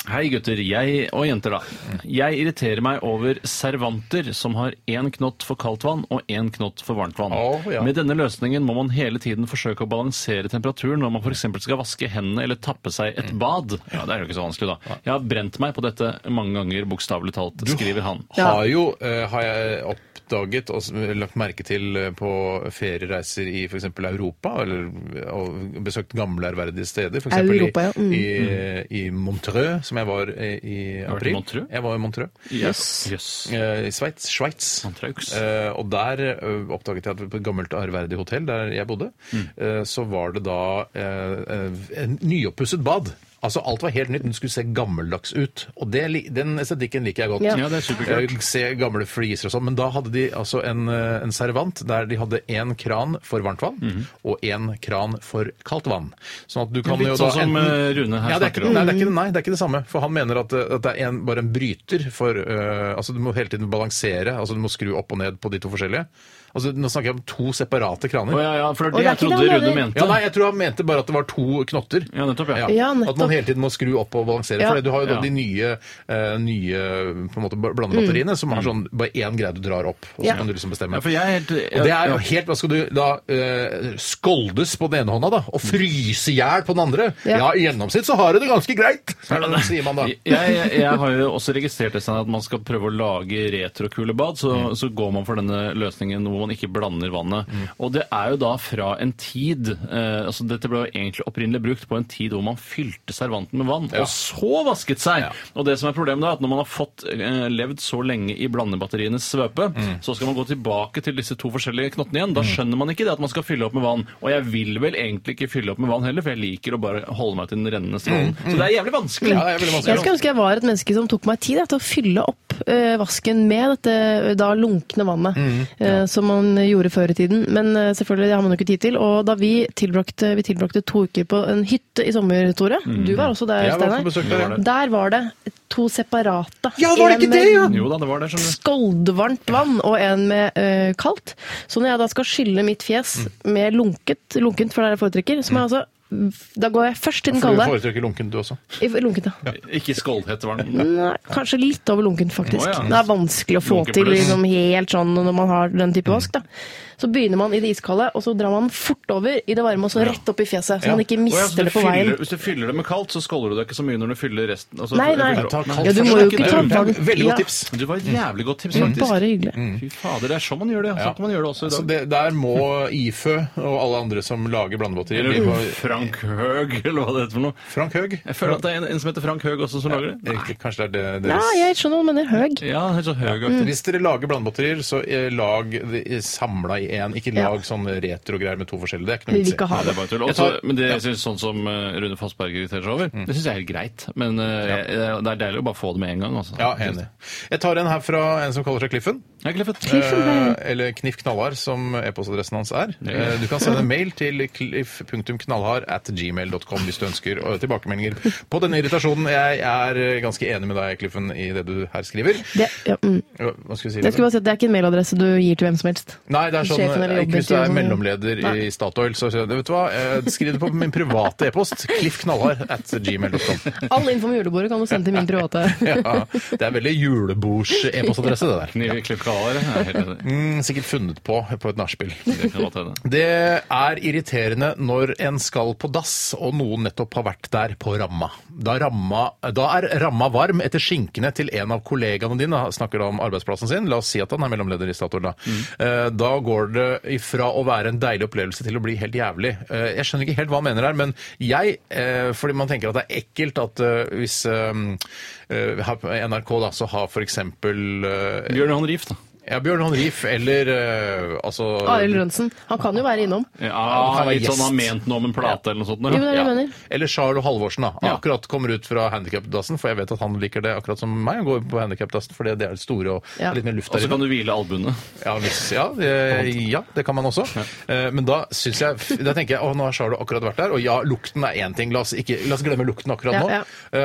Hei gutter, jeg og jenter da. Jeg irriterer meg over servanter som har én knott for kaldt vann og én knott for varmt vann.
Å, ja.
Med denne løsningen må man hele tiden forsøke å balansere temperaturen når man f.eks. skal vaske hendene eller tappe seg
Mm.
et bad. Ja, Det er jo ikke så vanskelig, da. Jeg har brent meg på dette mange ganger, bokstavelig talt, skriver han.
Ja.
Har jo, eh, har jeg opp oppdaget og s- lagt merke til eh, på feriereiser i f.eks. Europa, eller og besøkt gamle ærverdige steder, f.eks.
Europa, ja. Mm.
I, eh, i, i Montreux, som jeg var eh, i
Har du vært i
april.
Montreux?
Jeg var i Montreux.
Yes. Yes.
Eh, I Sveits. Sveits.
Montreux.
Eh, og der eh, oppdaget jeg at på et gammelt ærverdig hotell der jeg bodde,
Mm.
eh, så var det da eh, eh, en nyoppusset bad. Altså Alt var helt nytt, den skulle se gammeldags ut. Og det, li- den estetikken liker jeg godt.
Ja.
Ja, det er superkult.
Eh, Se gamle fliser og sånn. Men da hadde de altså en, eh, en servant der de hadde én kran for varmt vann
Mhm.
og én kran for kaldt vann. Sånn at du kan
Litt
jo da
sånn som eh,
enten-
Rune her
ja, det er
snakker
ikke,
om.
nei, det er ikke, nei, det er ikke det samme. For han mener at, eh, at det er en, bare en bryter for eh, Altså, du må hele tiden balansere. Altså, du må skru opp og ned på de to forskjellige. Altså, nå snakker jeg om to separate kraner.
Å ja, ja, for det
Og
er det
det er
jeg
ikke
trodde
det han
Rune
mener.
mente.
Ja, nei, jeg tror han mente bare at det var to knotter.
Ja, nettopp, ja.
Ja,
At man
nettopp.
hele tiden må skru opp og balansere.
Ja.
For du har jo da
Ja.
de nye, eh, nye på en måte, ba- blandebatteriene som har sånn bare én greie du drar opp, og så
Mm. Ja.
kan du liksom bestemme.
Ja, for jeg er helt...
Og det er jo
ja.
helt, Hva skal du da eh, skoldes på den ene hånda da, og fryse i hjel på den andre? Ja.
Ja.
i gjennomsnitt så har du det ganske greit, [LAUGHS] sier man da.
Jeg, jeg, jeg har jo også registrert det sånn at man skal prøve å lage retrokule bad, så, så går man for denne løsningen hvor man ikke blander vannet. Og det er jo da fra en tid eh, altså Dette ble jo egentlig opprinnelig brukt på en tid hvor man fylte servanten med vann, og så vasket seg. Og det som er problemet da, er at når man har fått eh, levd så lenge i blandebatterienes svøpe, så skal man gå tilbake til disse to forskjellige knottene igjen. Da skjønner man ikke det at man skal fylle opp med vann. Og jeg vil vel egentlig ikke fylle opp med vann heller, for jeg liker å bare holde meg til den rennende strålen. Så det er jævlig vanskelig.
Ja, det er veldig vanskelig.
Jeg skulle ønske jeg var et menneske som tok meg tid jeg, til å fylle opp eh, vasken med dette eh, da lunkne vannet,
Mm,
eh, som man gjorde før i tiden. Men eh, selvfølgelig, det har man jo ikke tid til. Og da vi tilbrakte, vi tilbrakte to uker på en hytte i sommer, Tore, du var også der,
Mm. Jeg var på
Steinar.
besøk der, ja.
Der var det to separate.
Ja, var det ikke
En,
det, ja?
Jo da, det var det. skjønner du.
skoldvarmt vann og en med eh, kaldt. Så når jeg da skal skylle mitt fjes
Mm.
med lunket, lunkent, for det er det jeg foretrekker, så må jeg altså da går jeg først til den
For du
kalde.
foretrekker lunken, du også.
I- Lunkent, ja.
Ikke skåldhett var den.
Nei, kanskje litt over lunken, faktisk.
Å, ja.
Det er vanskelig å få
Lunken Mm.
til
pluss.
liksom, helt sånn når man har den type vask. Da. Så begynner man i det iskalde, og så drar man fort over i det varme og så rett opp i fjeset. Så man ikke
Å ja, så
mister
du
det på veien.
fyller, hvis du fyller det med kaldt, så skåler du deg ikke så mye når du fyller resten. altså,
Nei, nei.
fyller opp.
Ja, du må jo ikke
Ja,
ta varmt.
Veldig
Ja.
godt tips.
Du var et jævlig godt tips,
Det er
faktisk.
Bare hyggelig.
Fy fader, Mm. det er sånn man gjør det. ja. Sånn kan man gjøre det også i
Så
dag.
det, der må IFØ og alle andre som lager blandebatterier bli
Eller
på
Frank Høg, eller hva det heter for noe.
Frank Høg.
Jeg føler at det er en, en som heter Frank Høg også som lager det.
Ikke- Kanskje det er det
Ja,
deres
jeg skjønner hva du mener. Høg.
Ja, helt så
Mm.
høgaktig.
Hvis dere lager blandebatterier, så eh, lag det samla i én. Ikke
Ja.
lag sånne retrogreier med to forskjellige. Det er ikke
Vi
noe
vil
vits i.
ikke ha
Ja, det
det.
er bare tull.
Jeg tar-
Også, men det jeg synes, sånn som eh, Rune Fossberg irriterer seg over, det syns jeg er helt greit. Men eh, jeg- det er deilig å bare få det med en gang. Altså.
Ja, enig. Jeg tar en her fra en som kaller seg Kliffen.
Ja, Clifford.
Eh, eller Kniff Knallhard, som e-postadressen hans er. Eh, du kan sende en mail til cliff.knallhard at gmail.com hvis du ønsker eh, tilbakemeldinger på denne irritasjonen. Jeg er eh, ganske enig med deg, Kliffen, i det du her skriver.
Det, ja, mm.
Ja, Hva skal vi si?
Jeg skulle bare si at det er ikke en mailadresse du gir til hvem som helst.
Nei, det er sånn,
Sjefen eller
eh, ikke hvis du er
jobbintervju og sånn.
mellomleder i Statoil, så sier jeg, vet du hva, eh, skriv det på min private e-post, cliffknallhard at gmail.com.
All info om julebordet kan du sende til min private.
[LAUGHS]
[LAUGHS]
Ja, det er veldig julebords-e-postadresse, det der.
Kniv i Klippkaller. Jeg er helt enig.
Mm, Sikkert funnet på på et nachspiel.
Det kan godt hende.
Det er irriterende når en skal på dass, og noen nettopp har vært der på ramma. Da, ramma. da er ramma varm etter skinkene til en av kollegaene dine, Han snakker da om arbeidsplassen sin, la oss si at han er mellomleder i Statoil da. Eh, Da går det ifra å være en deilig opplevelse til å bli helt jævlig. Eh, Jeg skjønner ikke helt hva han mener her, men jeg, eh, fordi man tenker at det er ekkelt at eh, hvis eh, eh, her på NRK da, så har for eksempel eh,
Bjørn Johan Rief, da.
ja, Bjørn Hånd Rief eller eh, altså
Arild Rønsen. Han kan jo være innom.
Ja,
han er
litt sånn
gjest.
han ment noe om en plate eller noe sånt.
Jo, men det
Ja.
er det jeg
Ja.
mener.
Eller Charlo Halvorsen, da. Han
Ja.
akkurat kommer ut fra handikapdassen, for jeg vet at han liker det akkurat som meg, å gå på handikapdassen, for det er det store og
Ja.
litt mer luft
Og
der
så
inne.
kan du hvile albuene.
Ja, hvis, ja, eh, ja, det kan man også. Eh, Men da syns jeg Da tenker jeg å, nå har Charlo akkurat vært der, og ja, lukten er én ting. La oss, ikke, la oss glemme lukten akkurat
Ja,
nå.
ja.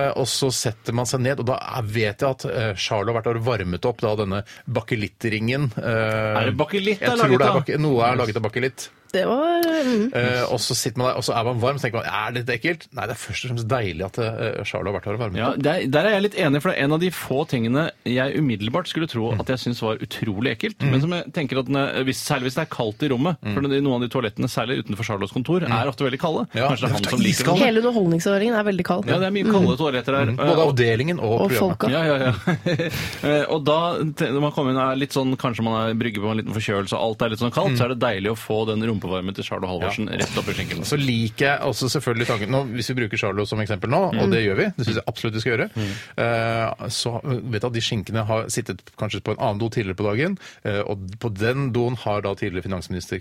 Eh, Og så setter man seg ned, og da er- vet jeg at eh, Charlo har vært og varmet opp da denne bakelittringen.
Er det bakelitt
Jeg
er
tror
laget
det er
av?
bake, noe er laget av bakelitt.
Det var mm.
Eh, og så sitter man der, og så er man varm, så tenker man er dette ekkelt? Nei, det er først og fremst deilig at eh, Charlotte har vært her og varmet
Ja, der, der er jeg litt enig, for det er en av de få tingene jeg umiddelbart skulle tro at jeg syns var utrolig ekkelt.
Mm.
Men som jeg tenker at den er, hvis, særlig hvis det er kaldt i rommet, for de- noen av de toalettene særlig utenfor Charlottes kontor er ofte veldig kalde.
Mm. Ja,
Kanskje det er
det
han
er
som liker dem.
iskaldt.
Hele underholdningsordningen er veldig kald.
Ja, det er mye kalde toaletter der.
Mm. Både avdelingen og,
Og
programmet.
[LAUGHS] folka.
Ja, ja, ja. [LAUGHS] Eh, og da, te- når man kommer inn og er litt sånn, kanskje man er brygger på en liten forkjølelse, og alt er litt sånn kaldt, så er det deilig å få den rumpevarmen til Charlo Halvorsen rett opp i skjenken.
Så liker jeg også selvfølgelig tanken nå, Hvis vi bruker Charlo som eksempel nå,
Mm.
og det gjør vi, det syns jeg absolutt vi skal gjøre, eh, så vet jeg at de skinkene har sittet kanskje på en annen do tidligere på dagen, eh, og på den doen har da tidligere finansminister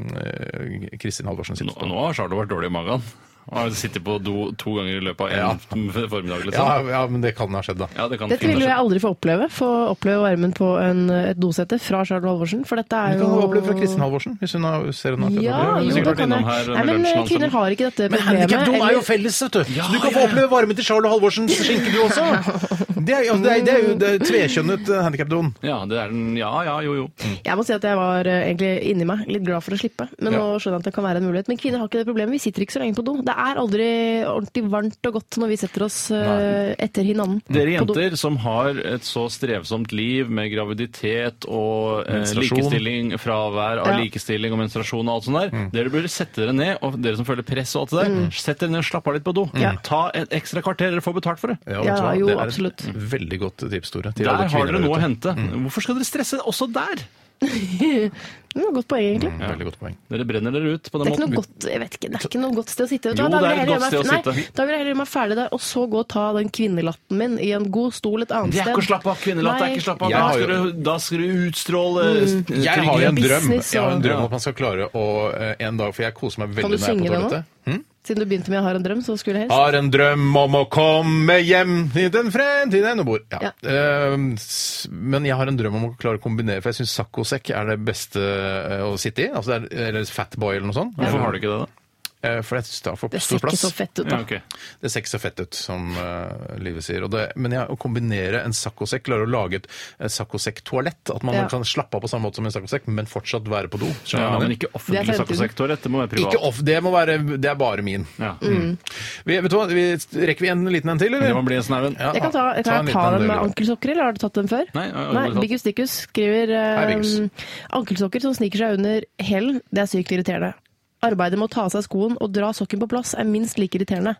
eh, Kristin Halvorsen
Nå,
sittet. på.
nå har Charlo vært dårlig i magen. Han har sittet på do to ganger i løpet
Ja.
av en [LAUGHS] formiddag. Liksom.
Ja, ja, men det kan ha skjedd, da.
Ja, det kan
Dette
fint
vil jo jeg
være.
aldri få oppleve. Få oppleve varmen på en, eh, et dosete fra Charlotte Halvorsen. For dette
Vi kan
er jo
oppleve fra Kristin Halvorsen, hvis hun har, ser hun har skjedd.
Ja,
Hun har
jo,
sikkert
da
vært
kan
innom
jeg.
her
Nei,
med
men eh,
lunsjen,
kvinner
altså.
har ikke dette
sånn. Men handikapdom er jo
eller-
felles, vet du. Så du kan få oppleve varmen til Charlo
[LAUGHS]
Halvorsens skinke, du også. Det er, altså, det er, det er jo det er tvekjønnet eh, handikapdoen.
Ja, det er den. Ja, ja, jo, jo.
Jeg må si at jeg var eh, egentlig inni meg litt glad for å slippe. Men
Ja.
nå skjønner jeg at det kan være en mulighet. Men kvinner har ikke det problemet. Vi sitter ikke så lenge på do. Det er aldri ordentlig varmt og godt når vi setter oss eh, etter hinanden.
Dere
på do.
jenter som har et så strevsomt liv med graviditet og eh,
Menstruasjon.
likestilling, fravær av
Ja.
likestilling og menstruasjon og alt sånt der,
Mm.
dere burde sette dere ned, og dere som føler press og alt det der,
Mm.
sett dere ned og slapp av litt på do. Ta et ekstra kvarter, dere får betalt for det.
vet du
Ja,
hva?
jo,
Det er et
absolutt.
Veldig godt tips, Tore. til
Der har
alle kvinner
dere
der
noe å
ute. Mm.
hente. Hvorfor skal dere stresse også der?
Det var et godt poeng, egentlig.
Mm, Veldig godt poeng.
Dere brenner dere ut på
Det
den
er ikke
måten.
noe godt, jeg vet ikke, det er ikke noe godt sted å sitte. Vet du
Jo,
hva, da
det er
vil jeg
et godt
heller gjøre meg-
sted å
Nei,
sitte.
da vil jeg heller gjøre meg ferdig der, og så gå og ta den kvinnelatten min i en god stol et annet
Det
sted.
er ikke å slappe av. Kvinnelatt er ikke å slappe av.
Jeg
Da
har jo-
skal, du, da skal du utstråle mm.
Jeg har jo en drøm
business
Jeg har en
og-
drøm om at man skal klare å eh, en dag For jeg koser meg
Kan
veldig når
du
jeg er på
synge det nå?
toalettet. Hm?
Siden du begynte med 'Jeg har en drøm', så skulle jeg helst.
Ah,
Har en drøm om å komme hjem i den fremtiden jeg nå bor. Ja.
Ja.
Eh, s- men jeg har en drøm om å klare å kombinere, for jeg syns saccosekk er det beste eh, å sitte i. Altså det er, eller fatboy eller noe sånt.
Hvorfor har du ikke det, da?
Eh, for jeg synes det er for
Det
stor
ser ikke
plass.
så fett ut,
Ja,
da.
ok.
Det ser ikke så fett ut, som eh, livet sier. Og det, men ja, å kombinere en saccosekk, klare å lage et eh, saccosekk-toalett, at man
Ja.
kan slappe av på samme måte som en saccosekk, men fortsatt være på do. Skjønner
Ja,
du hva jeg
men
mener?
ikke
Det er
offentlig
fremtiden.
sakkosektor. Dette må være privat.
Ikke off, Mm. det, må være, det er bare min.
Ja.
Vi, vet du hva, vi, rekker vi en liten en til,
Det
eller?
må bli en snauen.
Ja,
Jeg kan ta, jeg
en
kan ta,
liten en,
den
du,
med
Gro.
ankelsokker, eller har du tatt den før?
Nei, jeg har aldri tatt.
Biggus Dickus skriver
Hei,
eh,
Biggus.
ankelsokker som sniker seg under hælen, det er sykt irriterende. Arbeidet med å ta av seg skoen og dra sokken på plass er minst like irriterende.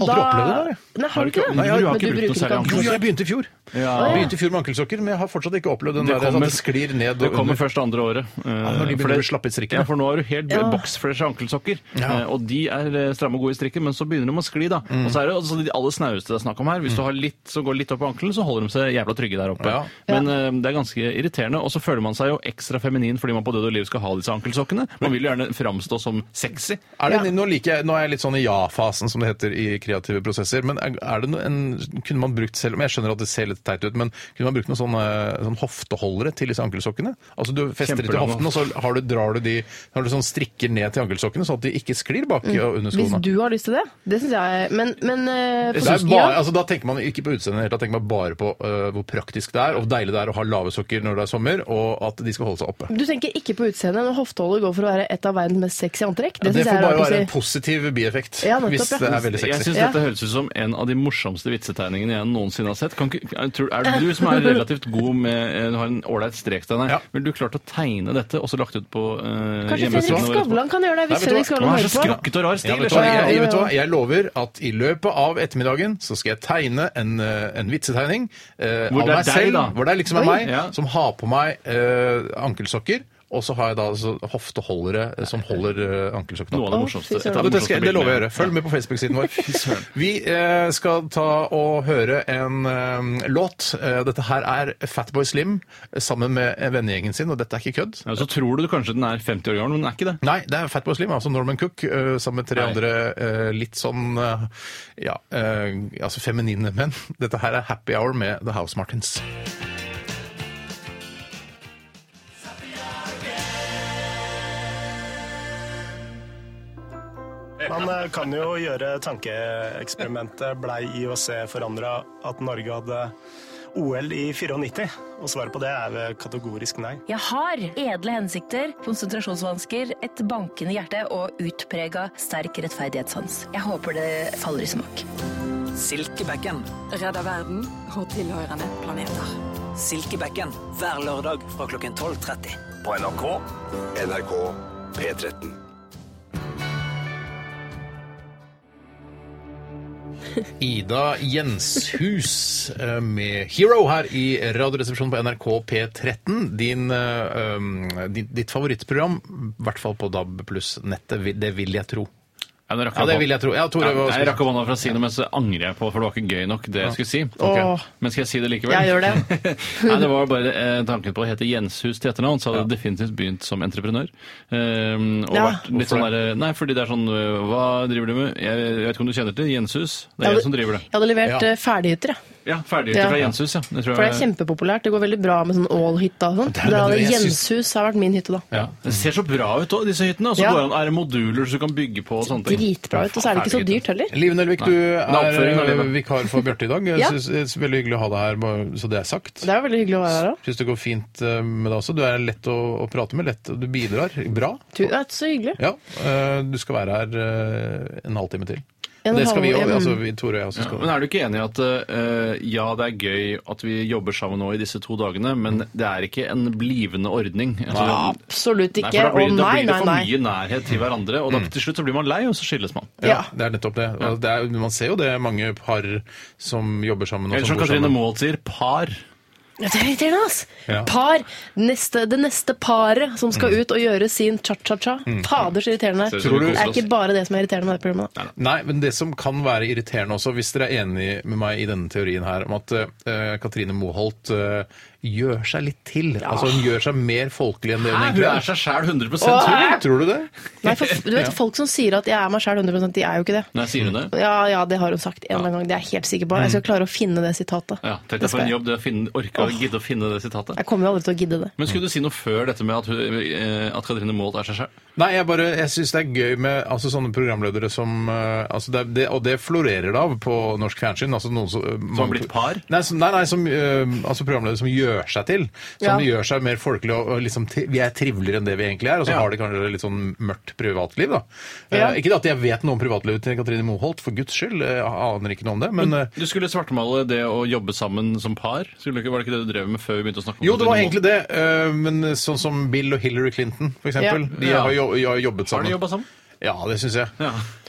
Jeg har aldri opplevd det,
Nei, har du ikke det?
Nei, jeg har ikke
Men
brukt noe
du bruker ikke
særlig
Jo,
ankelsokker.
jeg begynte i fjor. Jeg begynte i fjor med ankelsokker, men jeg har fortsatt ikke opplevd
Det
den der sånn
kommer-
at det sklir ned og
Det kommer
under.
først det andre året. eh,
når de
for det-
begynner å slappe i strikken.
Ja, for nå har du helt
Ja.
boksfreshe ankelsokker,
Ja. Mm.
eh, og de er eh, stramme og gode i strikken, men så begynner de å skli, da. Og så er det også de aller snaueste det er snakk om her. Hvis du har litt som går litt opp i ankelen, så holder de seg jævla trygge der oppe.
Ja.
Men eh, det er ganske irriterende, og så føler man seg jo ekstra feminin fordi man på død og liv skal ha disse ankelsokkene. Man vil jo gjerne framstå som sexy.
Er det, nå, liker jeg, nå er jeg litt sånn i ja-fasen, som det heter i kreative prosesser. Men er er det noe, en, kunne man brukt selv, men Jeg skjønner at det ser litt teit ut, men kunne man brukt noen sånne, sånn hofteholdere til disse ankelsokkene? Altså Du fester de til
Kjempegammel.
hoften, og så har du, drar du de har du sånn strikker ned til ankelsokkene, sånn at de ikke sklir bak i- og under
Mm. Hvis
skoene.
du har lyst til det, det syns jeg Men, men eh,
Det
for-
er bare,
ja.
altså, da tenker man ikke på utseendet, helt, da tenker man bare på øh, hvor praktisk det er, og hvor deilig det er å ha lave sokker når det er sommer, og at de skal holde seg oppe.
Du tenker ikke på utseendet når hofteholdet går for å være et av verdens mest sexy antrekk?
Det,
Det syns jeg
får
er
bare være en
rart å si.
positiv bieffekt,
Ja, nettopp,
hvis
ja.
det er veldig
Jeg
sexy.
syns
Ja.
dette høres ut som en av de morsomste vitsetegningene jeg noensinne har sett. Kan ikke, jeg tror, er det du som
[LAUGHS]
er relativt god med eh, har en ålreit strektegn her,
Ja.
ville du klart å tegne dette og så lagt ut på eh,
Kanskje
hjemmesiden
Fredrik
vår etterpå?
Skavlan kan gjøre det,
Nei,
hvis
vet du hva?
Fredrik
Han
Skavlan
har
hører
så
på?
skrokket og rar stil. liksom?
Ja, vet, du
så-
hva, jeg,
Ja, ja,
jeg, vet du
ja.
hva, jeg lover at i løpet av ettermiddagen så skal jeg tegne en, eh, en vitsetegning eh,
Hvor
av
det er
meg
deg,
selv,
da.
hvor det er liksom er meg,
ja.
som har på meg eh, ankelsokker, og så har jeg da altså, hofteholdere eh, som holder eh, ankelsokkene
Noe
opp.
av det
Å,
morsomste.
fy søren.
et
Ja,
av de
det, skal,
morsomste
det lover jeg å
bildene.
gjøre. Følg med på Facebook-siden
[LAUGHS]
vår. Vi eh, skal ta og høre en eh, låt. Eh, dette her er Fatboy Slim eh, sammen med eh, vennegjengen sin, og dette er ikke kødd.
Ja, så tror du kanskje den er 50 år gammel, men den er ikke det.
Nei, det er Fatboy Slim, altså Norman Cook, eh, sammen med tre
Nei.
andre eh, litt sånn eh, ja, eh, altså feminine menn. [LAUGHS] Dette her er Happy Hour med The House Martins.
Man eh, kan jo gjøre tankeeksperimentet blei IOC forandra at Norge hadde OL i 94? Og svaret på det er vel kategorisk nei.
Jeg har edle hensikter, konsentrasjonsvansker, et bankende hjerte og utprega sterk rettferdighetssans. Jeg håper det faller i smak.
Silkebekken.
Redder verden og tilhørende planeter.
Silkebekken hver lørdag fra klokken 12.30.
På NRK. NRK P13.
Ida Jenshus eh, med Hero her i Radioresepsjonen på NRK P13. Din, eh, um, di- ditt favorittprogram, i hvert fall på DAB pluss-nettet, vi- det vil jeg tro.
Ja, nå rakk
Ja, det
opp.
vil jeg tro. Ja, Tore,
Ja,
hva-
nei, jeg rakk opp hånda for å si noe, men så angrer jeg på for det var ikke gøy nok, det jeg skulle si.
Åh.
Men skal jeg si det likevel?
Jeg gjør det.
Nei, det var bare eh, tanken på å hete Jenshus til etternavn, så hadde jeg definitivt begynt som entreprenør. Ehm, og
Ja.
vært litt sånn der, Nei, fordi det er sånn øh, Hva driver du med? Jeg, jeg vet ikke om du kjenner til Jenshus? Det
Jeg
er
hadde-
jeg som driver det.
Jeg hadde levert
Ja.
eh, ferdighytter, jeg.
Ja, ferdighytter
Ja.
fra Jenshus, ja. Det tror
For det er
jeg-
kjempepopulært. Det går veldig bra med sånn all-hytta og sånn.
er det
Da hadde
du- jeg synes-
Jenshus har vært min hytte, da.
Ja. Det ser så bra ut òg, disse hyttene. Og så
Ja.
går det an, er det moduler så du kan bygge på og sånne ting.
Dritbra ut, og så er det ikke så dyrt heller.
Liv Nelvik,
Nei.
du
Det er oppføringen av
er eh,
livet.
vikar for Bjarte i dag. Jeg
Ja.
synes- jeg synes det er veldig hyggelig å ha deg her, bare så det er sagt.
Det er veldig hyggelig å være her òg.
Syns det går fint eh, med deg også. Du er lett å, å prate med. lett, og Du bidrar bra.
Så hyggelig.
Ja, eh, Du skal være her eh, en halvtime til.
En
det skal vi
halvtime,
òg.
mm.
Altså, vi- Tore og jeg også
Ja,
skal
men er du ikke enig i at eh, ja, det er gøy at vi jobber sammen nå i disse to dagene, men det er ikke en blivende ordning? Altså,
Absolutt
Nei, for da
ikke.
blir,
Å
da
nei,
blir det
nei,
for
nei. Mm.
mye nærhet til hverandre, og da til slutt så blir man lei, og så skilles man.
Ja, det er nettopp det. Og det er, man ser jo det mange par som jobber sammen. og
Eller som
bor
Katrine
sammen.
Maalt sier, par.
Ja, Det er irriterende, ass!
Ja.
Par. Neste, det neste paret som
Mm.
skal ut og gjøre sin cha-cha-cha. Fader, så irriterende
Ser
det
ut
er.
som vi
Det
koser
er
oss.
ikke bare det som er irriterende med det programmet. da.
Nei, men det som kan være irriterende også, hvis dere er enig med meg i denne teorien her, om at eh, Katrine Moholt eh, gjør seg litt til. Altså hun gjør seg mer folkelig enn det hun
Nei, hun
egentlig
er
er.
seg sjæl 100 tror
Åh,
du?
Tror du det?
Nei, for, du
[LAUGHS]
vet, Folk som sier at 'jeg er meg sjæl 100 de er jo ikke det.
Nei, sier hun det?
Ja, ja, det har hun sagt en eller annen gang. Det er jeg helt sikker på. Jeg skal klare å finne det sitatet.
Mm. Ja, Tenk
Det
deg for
skal
en
jeg.
jobb det å finne, orke å gidde å finne det sitatet.
Jeg kommer jo aldri til å gidde det.
Men skulle du si noe før dette med at, hun, eh, at Katrine Maalt er seg sjæl?
Nei, jeg bare, jeg syns det er gøy med altså, sånne programledere som eh, altså, det, er- det, Og det florerer det av på norsk fjernsyn. Altså, noen som, eh,
Som har
mange-
blitt par?
Nei, som, nei, nei som, eh, altså programledere som gjør seg til. Som gjør seg mer folkelig og, og liksom til, Vi er triveligere enn det vi egentlig er. Og så har de kanskje litt sånn mørkt privatliv, da. Eh,
Ja.
ikke at jeg vet noe om privatlivet til Katrine Moholt, for guds skyld. eh, Jeg aner ikke noe om det. Men,
Mm.
eh,
Du skulle svartmale det å jobbe sammen som par? Skulle du ikke, var det ikke det du drev med før vi begynte å snakke om
jo, det var
Katrine Maalt?
egentlig det. eh, Men sånn som Bill og Hillary Clinton, for eksempel.
Ja.
De har, jo, har jobbet
Har
sammen.
de jobba sammen?
Ja, det syns jeg.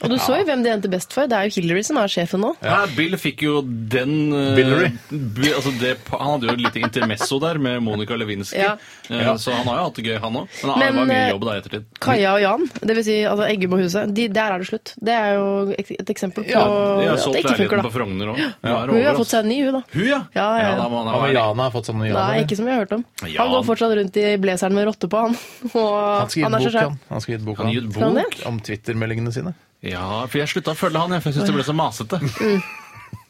Og du så jo hvem det endte best for. Det er jo Hillary som er sjefen nå.
Nei, Bill fikk jo den eh,
Billery.
bi- altså det, pa- Han hadde jo et lite intermesso der med Monica Lewinsky,
Ja.
eh, så han har jo hatt det gøy, han òg. Men det
Men,
var mye
eh,
jobb der i ettertid.
Kaja og Jan, dvs. Si, altså Eggum og Huset, de, der er det slutt. Det er jo ek- et eksempel på
Ja, de har
at
solgt
det ikke
leiligheten
funker,
på
da.
Frogner òg.
Hun har fått seg en ny, hun, da.
Hun, ja!
Ja, ja, ja.
da må han
Han
ha
og
vært-
Jana har fått sånne Jana.
Nei, ikke som jeg har hørt om.
Jan.
Han går fortsatt rundt i blazeren med rotte på, han. [LAUGHS] Og
Han skal gi
er
ut
så
bok,
skjær.
han. han skal gi ut bok,
Kan gi
han.
ut
Kan han
bok?
Om Twitter-meldingene sine.
Ja, for jeg slutta å følge han, jeg, for jeg syns det ble så masete.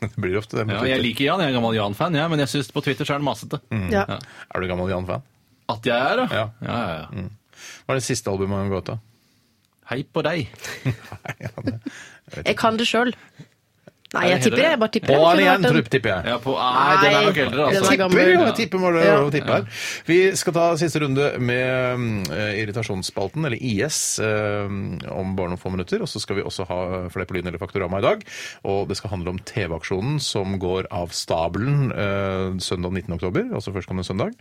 Det blir ofte det. med
Ja, jeg
Twitter.
liker Jan, jeg er en gammel Jan-fan, jeg, men jeg syns på Twitter så er han masete.
Mm.
Ja.
Er du gammel Jan-fan?
At jeg er, da?
Ja.
Ja, ja, ja.
Hva er det siste albumet han ga ut, da?
Hei på deg.
Ja, det-
Jeg kan det sjøl. Nei,
Er det
jeg
heller
tipper det.
det?
Jeg bare
På
tipper det.
han
Kunne
igjen,
vært en-
trupp, tipper jeg.
Ja, på, nei, den er nok eldre,
den er
altså.
gammel.
Tipper, ja,
Ja.
tipper må det
Ja.
være lov å tippe her. Vi skal ta siste runde med mm, eh, irritasjonsspalten, eller IS, eh, om bare noen få minutter. Og så skal vi også ha eh, Fleipolin eller Faktorama i dag. Og det skal handle om TV-aksjonen som går av stabelen eh, søndag 19. oktober, altså førstkommende søndag.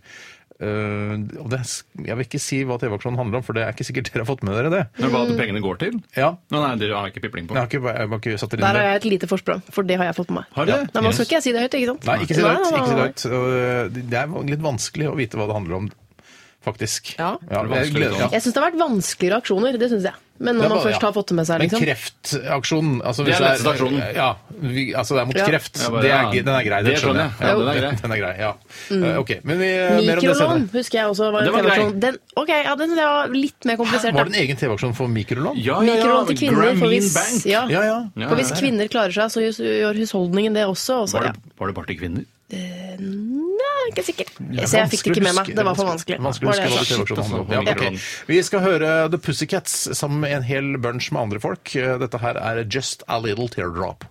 Eh, og det, er s- jeg vil ikke si hva TV-aksjonen handler om, for det er ikke sikkert dere har fått med dere det.
Men hva pengene går til?
Ja,
Nå, nei, dere har ikke pipling på.
Jeg har ikke, jeg har ikke satt det inn
Der
i
har
det.
jeg et lite forsprang, for det har jeg fått med meg.
Har dere?
Nei, Man skal ikke jeg si det høyt, ikke sant?
Nei, ikke si det høyt.
Nei, nei,
Ikke si det
nei.
høyt. Og, øh, Det er litt vanskelig å vite hva det handler om, faktisk.
Ja.
Det er
jeg
vanskelig å
gleder-
vite hva det
Jeg syns det har vært vanskeligere aksjoner, det syns jeg. Men
Det
når
er
man
bare- ja.
først har fått det med seg,
Men
liksom.
kreftaksjonen altså
Det er
hvis
letteste aksjonen.
Ja, vi, altså det er mot
Ja.
kreft.
Jeg bare,
det er,
ja,
ge- den er grei, det
det
skjønner jeg.
skjønner jeg. Ja, den er grei.
Den er grei, ja. Eh, Ok, men vi, mer om det
Mm. Mikrolån
senere.
husker jeg også var en
Det var grei.
TV-aksjon. Den, ok, ja, den synes jeg var litt mer
Var
komplisert. da.
det en egen TV-aksjon for mikrolån?
Ja, ja, ja.
Mikrolån til kvinner, for
Grameen
hvis,
Bank.
ja,
ja. ja.
Ja,
for hvis
ja, ja.
kvinner klarer seg, så gjør- gjør husholdningen det også. Og så,
Var
ja.
det, var det bare til kvinner?
Nei, ikke sikkert. Så jeg fikk det ikke med meg. Det var for vanskelig.
Vanskelig å
Var
huske
det
hva det
jeg sa.
TV-aksjonen handler om. Ja,
Shit, altså.
ok. Vi skal høre The Pussycats sammen med en hel bunch med andre folk. Eh, Dette her er Just a Little Teardrop.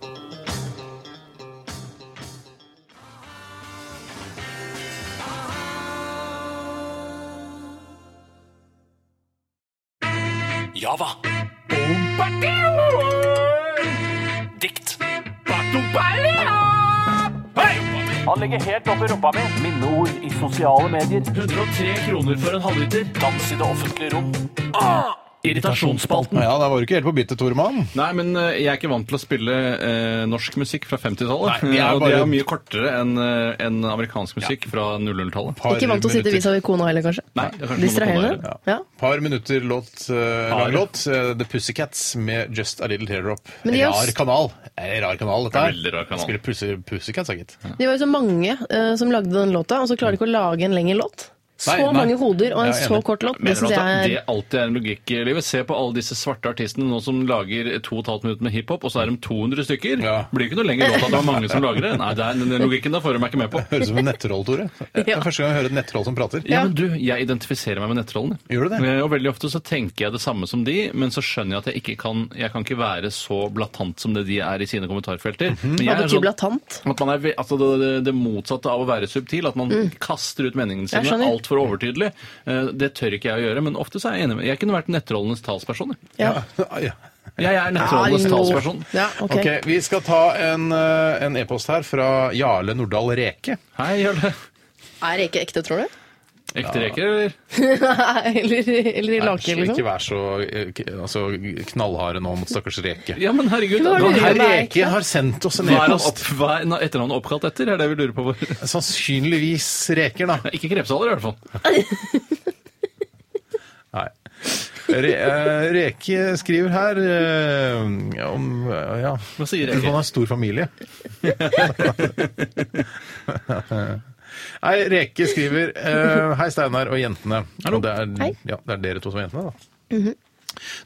Java. Dikt. Han ligger helt oppi rumpa mi. Minneord i sosiale medier. 103 kroner for en halvliter. Dans i det offentlige rom. Ah!
Mm.
Irritasjonsspalten.
Ja, Da var du ikke helt på byttet, Toremann.
Nei, men eh, jeg er ikke vant til å spille eh, norsk musikk fra 50-tallet.
Nei, jeg er
Eh, [LAUGHS] Og det
bare-
er mye kortere enn eh, enn amerikansk musikk fra 00-tallet.
Ikke vant til å sitte vis-à-vis kona heller, kanskje?
Nei, det er kanskje noe med
Distraherende?
kona
Ja.
Par minutter låt, eh, lang låt. eh, The Pussycats med Just A Little Teardrop.
Men de er jo
Rar
s-
kanal. Eh, Rar kanal, dette her.
Veldig rar kanal.
Spiller Pussy, Pussycats, da, gitt.
Det var jo så mange eh, som lagde den låta, og så klarer de ikke å lage en lengre låt. Så
Nei, nei.
mange hoder og en
Jeg er
så
enig.
kort låt, det
Mener du
syns
at det
jeg
det
er
alltid er en logikk i livet? Se på alle disse svarte artistene nå som lager 2,5 minutter med hiphop, og så er de 200 stykker. Blir ikke noe lenger låt at det var mange som lager det. Nei, det er, den logikken der får jeg meg ikke med på.
Høres ut som en nettroll,
[LAUGHS]
Tore. Det er første gang jeg hører et nettroll som prater.
Ja, men du, Jeg identifiserer meg med nettrollene.
Gjør du det?
Eh, Og Veldig ofte så tenker jeg det samme som de, men så skjønner jeg at jeg ikke kan Jeg kan ikke være så blatant som det de er i sine kommentarfelter. Men jeg
Hva
er
betyr
sånn-
blatant?
At man er, ve- altså det, det, det motsatte av å være subtil. At man kaster ut meningene
Mm. Jeg
sine
skjønner.
altfor overtydelig. Eh, Det tør ikke jeg å gjøre, men ofte så er jeg enig med Jeg kunne vært nettrollenes talsperson. jeg.
Ja.
Jeg er nettrollenes
Ja, jo.
talsperson.
Ja, ok.
Ah, Ok, Vi skal ta en eh, en e-post her fra Jarle Nordahl Reke.
Hei, Jarle.
Er det ikke ekte, tror du? [LAUGHS]
Ekte reker, eller?
eller, eller i lake,
Ikke
liksom?
vær så eh, k- altså, knallharde nå mot stakkars Reke.
Ja, men herregud,
Hva
da-
lurer
her-
du på?
Reke har sendt oss en
hva er han
e-post.
opp, hva er na- etternavnet oppkalt etter? Er det vi lurer på?
Sannsynligvis reker, da.
[LAUGHS] Ikke krepsaler, i hvert fall.
Nei. Re, eh, Reke skriver her eh, om eh, ja.
Hva sier Reke?
Han har stor familie. Nei, Reke skriver eh, Hei, Steinar og jentene. Og det
Hei.
er, ja, det er dere to som er jentene, da.
Mhm.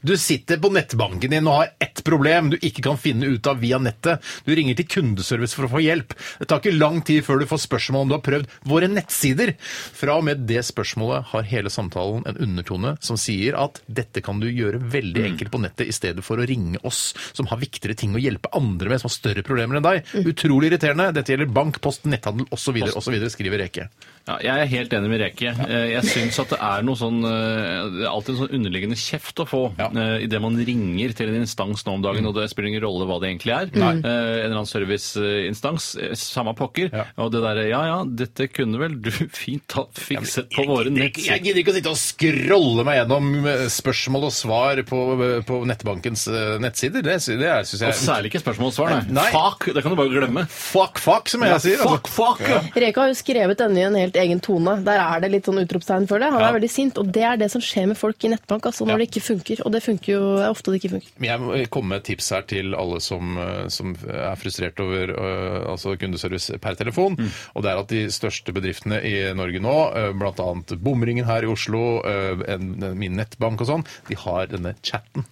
Du sitter på nettbanken din og har ett problem du ikke kan finne ut av via nettet. Du ringer til kundeservice for å få hjelp. Det tar ikke lang tid før du får spørsmål om du har prøvd våre nettsider. Fra og med det spørsmålet har hele samtalen en undertone som sier at dette kan du gjøre veldig enkelt på nettet i stedet for å ringe oss som har viktigere ting å hjelpe andre med, som har større problemer enn deg. Utrolig irriterende. Dette gjelder bank, post, netthandel osv., osv., skriver Reke.
Ja, jeg er helt enig med Reke. Eh, Jeg syns at det er noe sånn eh, Det er alltid en sånn underliggende kjeft å få eh, i idet man ringer til en instans nå om dagen, og det spiller ingen rolle hva det egentlig er.
Mm. Nei.
Eh, En eller annen serviceinstans. eh, Samme pokker. Og det derre Ja ja, dette kunne vel du [LAUGHS] fint ha fikset på våre
Jeg
nettsider.
gidder ikke å sitte og scrolle meg gjennom eh, spørsmål og svar på, på nettbankens eh, nettsider. Det, sy- det syns jeg
Og særlig ikke spørsmål og svar, nei.
Nei.
Fuck! Det kan du bare glemme.
Fuck, fuck, som jeg
Ja,
sier. Altså,
fuck, fuck, ja.
Reka har jo skrevet denne i en helt egen tone. Der er det litt sånn utropstegn, føler jeg. Han er
Ja.
veldig sint, og det er det som skjer med folk i nettbank, altså, når det ikke funker. Og det funker jo er ofte det ikke funker.
Men Jeg må eh, komme med et tips her til alle som, eh, som er frustrert over eh, altså kundeservice per telefon.
Mm.
Og det er at de største bedriftene i Norge nå, eh, blant annet Bomringen her i Oslo, eh, en, en- min nettbank og sånn, de har denne chatten.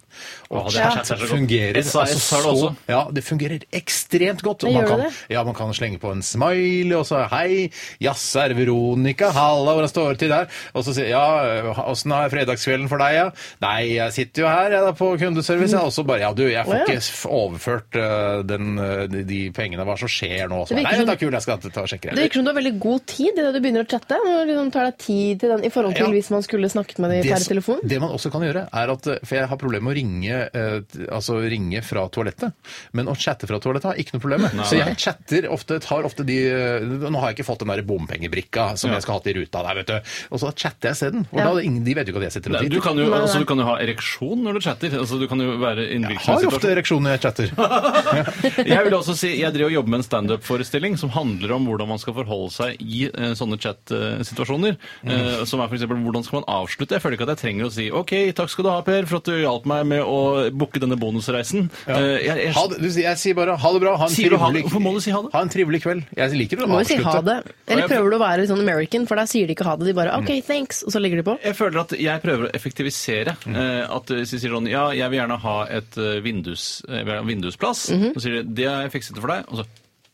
Å,
Og
det er-
chat
chat er så godt.
fungerer altså,
SAS har det også.
Ja, det fungerer ekstremt godt. og
Det
man
gjør
kan,
det.
Ja, man kan slenge på en smiley og så hei, jaså er det Veronica, halla, hvordan står det til der? Og så sier ja, åssen er fredagskvelden for deg, ja? Nei, jeg sitter jo her jeg, da, på kundeservice, jeg. Og så bare ja, du, jeg får
Å, ja.
ikke f- overført eh, den, eh, de- de pengene, hva som skjer nå?
Det
Så,
virker
nei,
som-
det er kult, jeg skal ta og sjekke
Det virker som du har veldig god tid idet du begynner å chatte. Når du liksom tar deg tid til den i forhold til
Ja.
hvis man skulle snakket med dem
Det
per
som-
telefon.
Det man også kan gjøre, er at eh, For jeg har problemer med å ringe, eh, t- altså ringe fra toalettet. Men å chatte fra toalettet har jeg ikke noe problem med.
Nei.
Så jeg chatter ofte, tar ofte de eh, Nå har jeg ikke fått den der bompengebrikka som jeg skal ha til ruta der, vet du. Og så chatter jeg isteden. Og
Ja.
da, ingen- De vet jo ikke at jeg sitter og
Du
driter.
kan, jo,
Nei, nei.
altså, du kan jo ha ereksjon når du chatter. Altså, du kan jo være i en
Jeg
hvilken
har
situasjon-
ofte ereksjon når jeg chatter.
[LAUGHS] Jeg vil også si, jeg driver og jobber med en standup-forestilling som handler om hvordan man skal forholde seg i eh, sånne chat-situasjoner.
Mm.
Eh, som er for eksempel, Hvordan skal man avslutte? Jeg føler ikke at jeg trenger å si OK, takk skal du ha, Per, for at du hjalp meg med å booke denne bonusreisen. Eh, jeg, jeg,
Ha det, du, sier- jeg sier bare ha det bra, ha en,
Sier du ha det?
trivelig,
Hvorfor må du si ha det?
ha en trivelig kveld. Jeg liker å
Du må jo si
avslutte.
ha det. Eller prøver du å være litt sånn American, for der sier de ikke ha det. De bare OK, thanks, og så legger de på.
jeg føler at jeg prøver å effektivisere.
Mm.
eh, At Hvis de sier sånn Ja, jeg vil gjerne ha
Mhm.
et eh, vindus, eh, jeg vil ha en vindusplass. Så sier de Det har jeg fikset for deg. Og så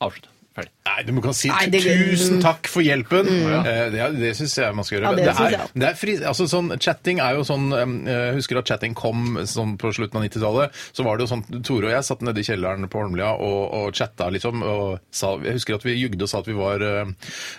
avslutt. Ferdig.
Nei, du kan si
Nei, det-
tusen takk for hjelpen.
Mm.
Eh, Det, det syns jeg man skal gjøre.
Ja, det synes
er,
jeg også.
det er fri, altså sånn, Chatting er jo sånn eh, Jeg husker at chatting kom sånn på slutten av 90-tallet. Så var det jo sånn Tore og jeg satt nede i kjelleren på Holmlia og, og chatta, liksom. Og sa, jeg husker at vi jugde og sa at vi var eh,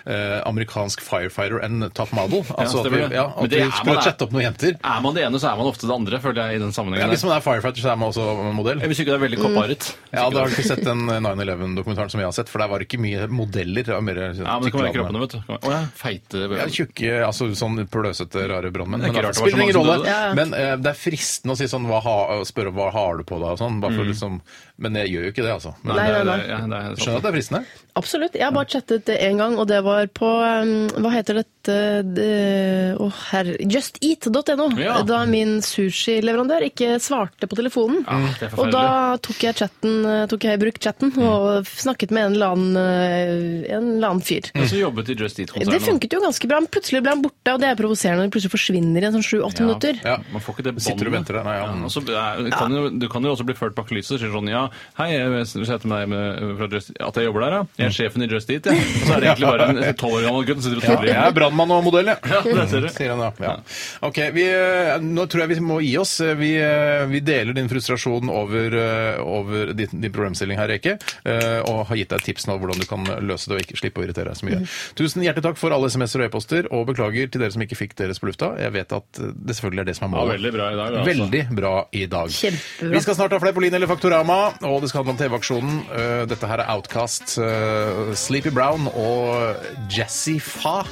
eh, amerikansk firefighter and top model. Altså at
stemmer
vi,
det.
ja,
Men
at
det
vi
er man
skulle
er-
chatte opp noen jenter.
Er man det ene, så er man ofte det andre, føler jeg, i den
Ja,
sammenhengen.
hvis man er firefighter, så er man også modell.
Hvis ikke det er veldig kopparet.
Ja, da har du ikke sett den 9-11-dokumentaren som jeg har sett, for der var det ikke mye modeller. det var mer
Ja, men det kan være
tykke
kroppene, vet du. Det kan være- Å ja, feite
Ja, tjukke, altså sånn pølsete, rare brannmenn.
Det er ikke
Men
rart
det
det var så
spiller ingen
mange som
rolle.
døde. Ja, ja.
Men eh, det er fristende å si sånn, hva ha, å spørre hva har du på deg og sånn. Bare for, liksom, men jeg gjør jo ikke det, altså. Men,
Nei, nei, nei.
det er- Skjønner
sånn.
at det er fristende.
Absolutt. Jeg har bare chattet det én gang, og det var på um, Hva heter dette det- Å, herre Justeat.no.
Ja.
Da min sushileverandør ikke svarte på telefonen.
Ah,
Ja, det er forferdelig.
og da tok jeg, chatten, eh, tok jeg i bruk chatten og snakket med en eller annen, eh, en eller annen fyr.
Men så jobbet i Just Eat-konsernet.
Det funket jo ganske bra, men plutselig ble han borte, og det er provoserende når de plutselig forsvinner i en sånn sju-åtte minutter.
Ja, man får ikke det båndet.
Sitter og venter der, nei, ja.
og så er- det kan jo, du kan jo også bli ført bak lyset og si sånn Ja, hei, jeg heter meg med, fra Just, at jeg jobber der, ja. Jeg er sjefen i Just Eat, ja. Og så er det egentlig bare en tolv år gammel gutt som sitter og
Ja,
tuller.
jeg er brannmann og [LAUGHS] modell, jeg.
Ja, det ser du.
Sier han, da. ja. Ok, vi, eh, nå tror jeg vi må gi oss. Vi, eh, vi deler din frustrasjon over, eh, over din, din problemstilling her, Eke, eh, og har gitt deg tips nå hvordan du kan løse det og ikke slippe å irritere deg så mye. Tusen hjertelig takk for alle sms'er og e-poster, og beklager til dere som ikke fikk deres på lufta. Jeg vet at eh, det selvfølgelig er det som er
Ja,
målet.
veldig bra i dag, altså.
Veldig bra i dag.
Kjempebra.
Vi skal snart ha Fleipolin eller Faktorama, og det skal handle om TV-aksjonen. Eh, Dette her er Outcast, eh, Sleepy Brown og Jazzy Fa.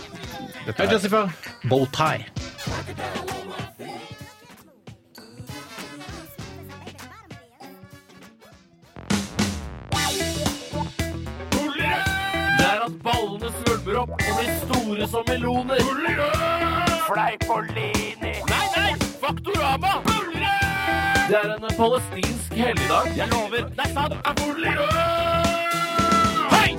Dette
Hei,
er
Jazzy Fa.
Bowtie.
Det er at ballene svulmer opp og blir store som meloner. Fleipolini. Nei, nei! Faktorama! Det er en palestinsk helligdag. Jeg lover. Det er sant. Hei!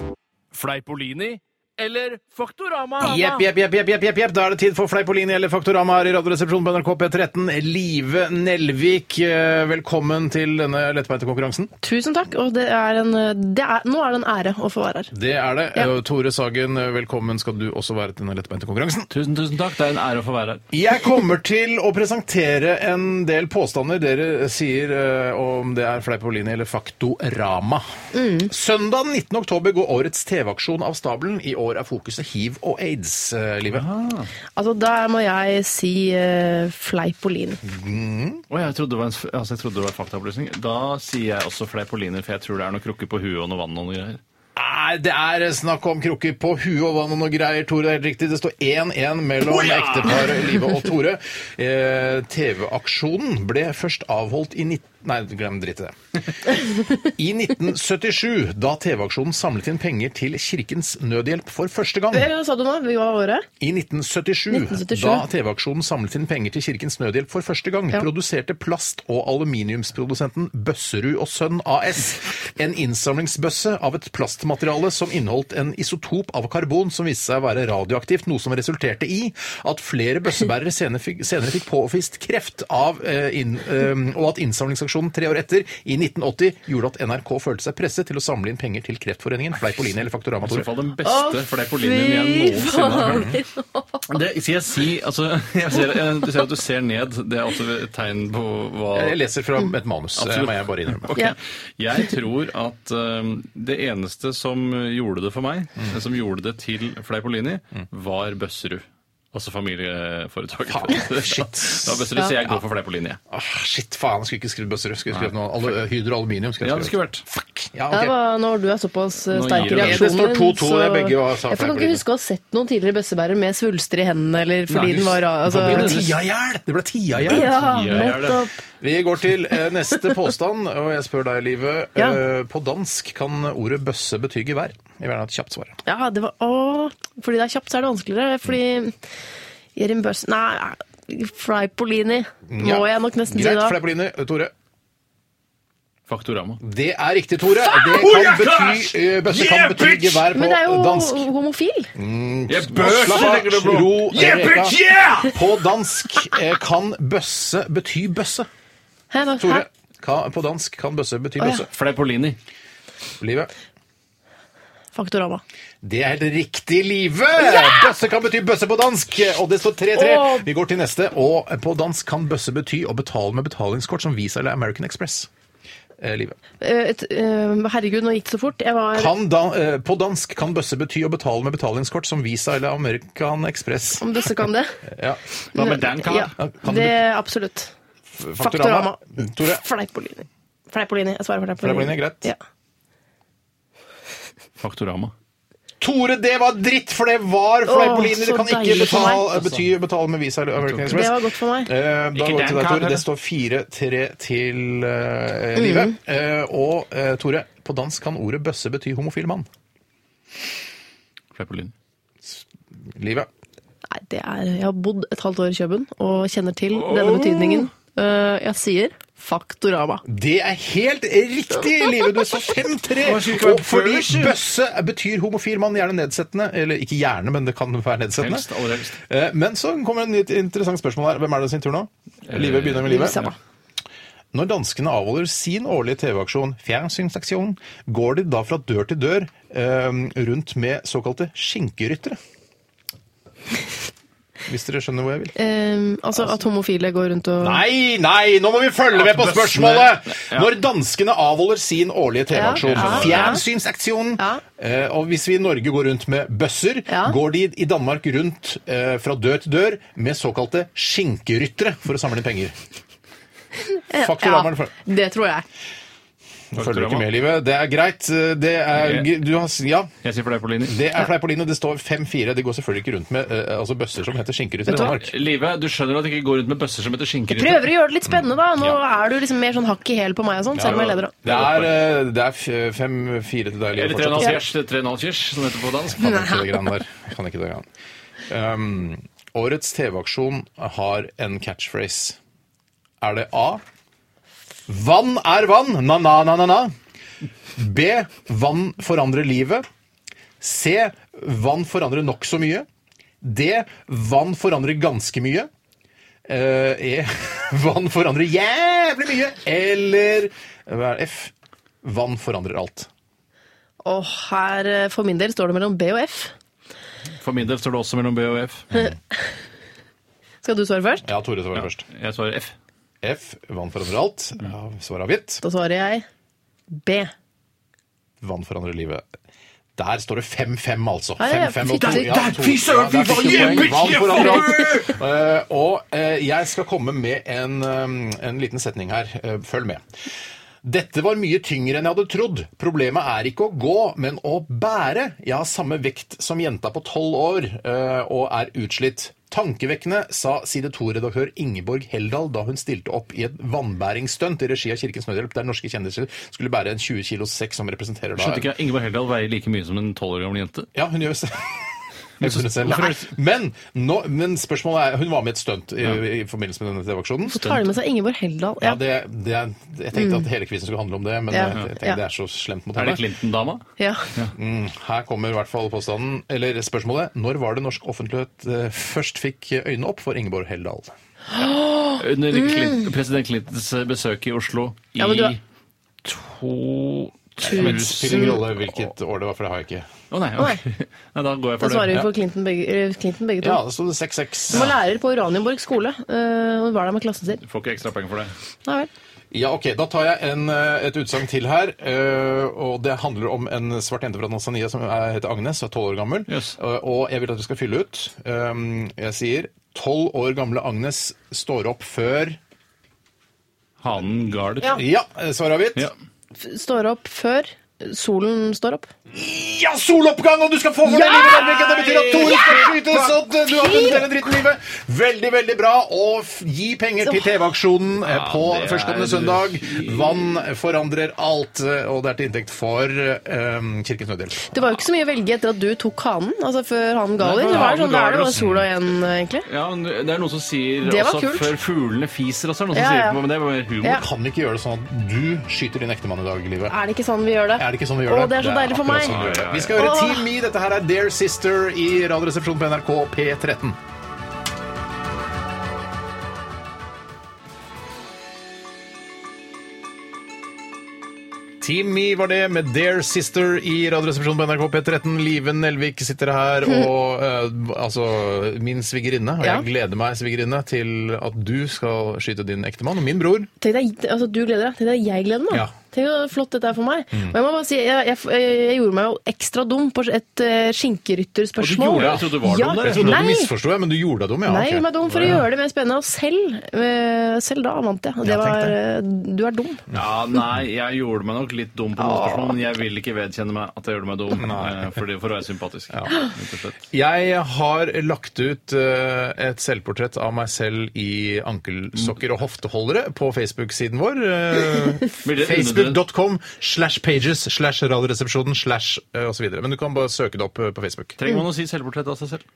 Fleipolini eller Faktorama?
Jepp, jepp, jepp, jepp, jepp, jepp, jepp. Da er det tid for Fleipolini eller Faktorama her i Radioresepsjonen på NRK P13. Live Nelvik, eh, velkommen til denne lettbeinte konkurransen.
Tusen takk, og det er en, det er, nå er det en ære å få være her.
Det er det.
Ja.
Eh, Tore Sagen, eh, velkommen skal du også være til denne lettbeinte konkurransen.
Tusen, tusen takk. Det er en ære å få være her.
Jeg kommer til å presentere en del påstander dere sier eh, om det er Fleipolini eller Faktorama. Søndag 19. oktober går årets TV-aksjon av stabelen. I år er fokuset hiv og eh, aids-livet.
Altså, der må jeg si uh, Fleipolin.
Mhm.
Å, jeg trodde det var, en, f- altså, jeg trodde det var en faktaopplysning. Da sier jeg også fleipoliner, for jeg tror det er noen krukker på huet og noe vann og noe greier.
Nei, det er snakk om krukker på huet og vann og noe greier, Tore. Det er helt riktig. Det står 1-1 mellom
Hoia!
ekteparet Live og Tore. Eh, TV-aksjonen ble først avholdt i 19... Nei, glem dritt i det. I 1977, da TV-aksjonen samlet inn penger til Kirkens Nødhjelp for første gang.
Eller hva sa du nå? Hva var året?
I 1977,
1977.
da TV-aksjonen samlet inn penger til Kirkens Nødhjelp for første gang, produserte plast- og aluminiumsprodusenten Bøsserud og Sønn AS en innsamlingsbøsse av et plastmateriale som inneholdt en isotop av karbon som viste seg å være radioaktivt, noe som resulterte i at flere bøssebærere senere fikk, senere fikk påvist kreft av eh, inn, eh, og at innsamlingsaksjonen tre år etter, i 1980, gjorde at NRK følte seg presset til å samle inn penger til Kreftforeningen, Fleipolini eller Faktorama.
I så fall
Tore.
den beste fleipolinen jeg noensinne har hørt. Det, skal jeg si, altså, [LAUGHS] jeg ser, jeg, du ser at du ser ned. Det er også et tegn på hva
Jeg leser fra et manus, det må jeg bare innrømme.
Ok.
Ja.
Jeg tror at um, det eneste som gjorde det for meg,
Mm.
som gjorde det til Fleipolini, var Bøsserud. Altså [LAUGHS] familieforetaket.
shit.
Det var Bøsserud, så jeg går for Fleipolini.
Ah, shit, faen, jeg skulle ikke skrevet bøsser. Skulle jeg skrevet noe alu hydro aluminium. Skulle
Ja,
jeg
det
skrevet.
skulle vært.
Ja,
Ja,
ok.
hva- når du er såpass eh,
Nå
sterk
gir
i
det meg.
reaksjonen
Det står 2-2,
så-
det er begge og sa
Jeg kan ikke
Fleipolin.
huske å ha sett noen tidligere bøssebærer med svulster i hendene, eller fordi
Nei,
den var altså,
Det ble tia i hjel! Det ble tia i hjel.
Ja, nettopp.
Vi går til eh,
[LAUGHS]
neste påstand, og jeg spør deg, Live.
Ja.
Eh, På dansk kan ordet bøsse bety gevær. Jeg vil gjerne ha et kjapt svar.
Ja, det var Å, fordi det er kjapt, så er det vanskeligere. Fordi Jerim Bøss Nei, Fleipolini må jeg nok nesten si
Greit,
da.
Fleipolini. Eh, Tore?
Faktorama.
Det er riktig, Tore. Det
Oh,
kan
yeah,
bety, eh, bøsse kan bety gevær
Men
på
det er jo
dansk.
homofil.
Jeg
bøs, tenker du på?
Ro,
Yeah,
Reka.
bitch, yeah!
På dansk eh, kan bøsse bety bøsse.
Hæ, nå-
Tore,
hæ?
ka, på dansk kan bøsse bety
Å, ja.
bøsse.
Fleipolini.
Livet.
Faktorama.
Det er helt riktig, Live! Bøsse kan bety bøsse på dansk, og det står 3-3.
Åh.
Vi går til neste, og på dansk kan bøsse bety å betale med betalingskort som Visa eller American Express. Eh, Live.
Eh, et- eh, herregud, nå gikk det så fort. Jeg var
Kan da, eh, på dansk kan bøsse bety å betale med betalingskort som Visa eller American Express.
Om disse kan det.
Ja.
Ja,
Kan
det
du
absolutt.
Faktorama. Mm, Tore.
Fleipolini. Fleipolini. Jeg svarer for Fleipolini.
Fleipolini, greit.
Ja.
Faktorama.
Tore, det var dritt, for det var
Åh,
fleipolini. Det
så
kan ikke
deilig for meg,
betale,
altså.
bety betale med Visa eller American Express.
Det var godt for meg.
Eh, da
Ikke
går vi til
den
deg, Tore.
karen.
Det står 4-3 til eh,
Mm.
Live. Eh, og eh, Tore, på dansk kan ordet bøsse bety homofil mann.
Fleipolini.
Live.
Nei, det er, jeg har bodd et halvt år i Køben og kjenner til denne betydningen. Eh, jeg sier Faktorama.
Det er helt riktig, Live! Du står 5-3!
Hva skulle ikke være
Og fordi
følelsen?
bøsse betyr homofil mann, gjerne nedsettende. Eller ikke gjerne, men det kan være nedsettende.
Helst, aller helst.
Eh, Men så kommer et nytt interessant spørsmål her. Hvem er det sin tur nå? Live begynner med Live.
Samme.
Når danskene avholder sin årlige TV-aksjon, Fjernsynsaksjon, går de da fra dør til dør eh, rundt med såkalte skinkeryttere. Hvis dere skjønner hvor jeg vil.
Eh, altså at homofile går rundt og
Nei, nei, nå må vi følge med på spørsmålet! Når danskene avholder sin årlige TV-aksjon,
Ja, ja, ja.
Fjernsynsaksjonen eh, Og hvis vi i Norge går rundt med bøsser, går de i Danmark rundt eh, fra dør til dør med såkalte skinkeryttere for å samle inn penger.
Ja,
Faktorama, eller
Ja, det tror jeg.
Følger du ikke med, Livet? Det er greit. Det er, du har, ja.
Jeg sier Fleipolini.
Det er Fleipolini. Det står 5-4. De går selvfølgelig ikke rundt med eh, altså bøsser som heter skinkerytter i
Vet du hva?
Danmark.
Live, du skjønner at jeg ikke går rundt med bøsser som heter skinkerytter.
Prøver å gjøre det litt spennende, da. Nå er du liksom mer sånn hakk i hæl på meg og sånn, selv om jeg leder. da.
Det er, eh, det er f- 5-4 til deg,
Eller
Livet.
tre
fortsatt.
naziers, tre naziers, som det heter på dansk.
Kan ikke det greiene der. Kan ikke det greiene. Um, årets TV-aksjon har en catchphrase. Er det A. Vann er vann, na-na-na-na. B. Vann forandrer livet. C. Vann forandrer nokså mye. D. Vann forandrer ganske mye. Eh, e. [LAUGHS] Vann forandrer jævlig mye. Eller hva er det? F. Vann forandrer alt.
Og her, eh, for min del, står det mellom B og F.
For min del står det også mellom B og F.
Skal du svare først?
Ja, Tore svarer først.
Jeg svarer F.
F. Vann forandrer alt. Ja, svar avgitt.
Da svarer jeg B.
Vann forandrer livet. Der står det 5-5, altså.
Ja, ja,
5-5
fy-
og to-
der-
ja,
der,
to-
fy
ja,
søren, vi var
der fikk du poeng.
hjemme,
Vann
hjemme!
forandrer alt. Eh, og eh, jeg skal komme med en, eh, en liten setning her. Eh, følg med. Dette var mye tyngre enn jeg hadde trodd. Problemet er ikke å gå, men å bære. Jeg har samme vekt som jenta på tolv år eh, og er utslitt. Tankevekkende, sa side 2-redaktør Ingeborg Heldal da hun stilte opp i et vannbæringsstunt i regi av Kirkens Nødhjelp, der norske kjendiser skulle bære en 20 kilos sekk som representerer da
Skjønte ikke jeg, Ingeborg Heldal veier like mye som en 12 år gammel jente.
ja, hun gjør [LAUGHS] det. Jeg tror det selv. Men, nå, men spørsmålet er Hun var med i et stunt i, i forbindelse med denne TV-aksjonen.
Så tar de med seg Ingeborg Heldal.
Ja,
Ja. Mm.
det, det, jeg tenkte at hele quizen skulle handle om det, men eh,
Ja.
jeg tenkte
Ja.
det er så slemt mot
Er
henne.
det Clinton-dama?
Ja.
Mm, her kommer i hvert fall påstanden, eller spørsmålet. Når var det norsk offentlighet eh, først fikk øynene opp for Ingeborg Heldal?
Under
Mm.
Clint, president Clintons eh, besøk i Oslo i
Ja, men du har-
to
Det spiller ingen rolle
tusen...
hvilket år det var, for det har jeg ikke.
Å nei, ok. [LAUGHS] nei, da går jeg
Da
for
svarer
det.
vi for Clinton begge, eh, Clinton begge to.
Ja, da sto det 6-6.
Hun var lærer på Oranienborg skole. eh, Hun var der med klassen sin.
Du Får ikke ekstra poeng for det.
Nei vel.
Ja, ok. Da tar jeg en, eh, et utsagn til her. eh, Og det handler om en svart jente fra Tanzania som er- heter Agnes, og er 12 år gammel. Eh, Og jeg vil at du skal fylle ut. Um, Jeg sier 12 år gamle Agnes står opp før
Hanen Gard.
Ja.
Ja, eh, svar avgitt. Ja.
F- Står opp før solen står opp.
soloppgang! Og du skal få for det
Ja!
livet! Nelvik. Det betyr at Tore skal skytes!
Ja!
Og at du har vunnet hele dritten livet. Veldig, veldig bra. Og f- gi penger til TV-aksjonen eh, på
det er-
førstkommende søndag. Vann forandrer alt, eh, og det er til inntekt for eh, Kirkens Nødhjelp.
Det var jo ikke så mye å velge etter at du tok hanen, altså før han ga
Nei,
deg.
for
Det var
hanen
sånn, Da
ga
er det
oss.
bare sola igjen, eh, egentlig.
Ja, men Det er noen som sier
Det var
også
kult.
før fuglene fiser også. er det Noen som
Ja,
sier
ja.
det, men det var mer humor.
Ja.
Kan ikke gjøre det sånn at du skyter din ektemann i dag, Livet.
Er det ikke sånn vi gjør det?
Er det ikke sånn vi gjør
Å, det er så deilig for
akkurat
meg.
sånn vi gjør det. Vi skal høre
Åh.
Team Me. Dette her er Dear Sister i Radioresepsjonen på NRK P13. Team Me var det med Dear Sister i Radioresepsjonen på NRK P13. Live Nelvik sitter
[LAUGHS]
her, og eh, altså min svigerinne. Og
Ja.
jeg gleder meg, svigerinne, til at du skal skyte din ektemann. Og min bror.
Tenk deg, altså, du gleder deg. Tenk deg jeg gleder meg.
Ja.
Tenk hvor flott dette er for meg.
Mm.
Og jeg må bare si, jeg, jeg, jeg gjorde meg jo ekstra dum på et eh, skinkerytterspørsmål.
gjorde det? Jeg trodde du var
ja,
dum der. Jeg trodde
nei.
du misforsto, jeg, men du gjorde deg dum, ja.
Nei,
ok.
jeg gjorde meg dum for å gjøre det mer spennende. Og selv, eh, selv da vant jeg. Og det
Ja, tenk
var eh, Du er dum.
Ja, nei, jeg gjorde meg nok litt dum på noen spørsmål, men jeg vil ikke vedkjenne meg at jeg gjorde meg dum, eh, fordi, for å være sympatisk. rett og slett.
Jeg har lagt ut eh, et selvportrett av meg selv i ankelsokker og hofteholdere på Facebook-siden vår. [LAUGHS] eh,
Blir det
Facebook.com slash pages slash radioresepsjonen slash eh, og så videre. Men du kan bare søke det opp eh, på Facebook.
Trenger man å si selvportrett av seg selv?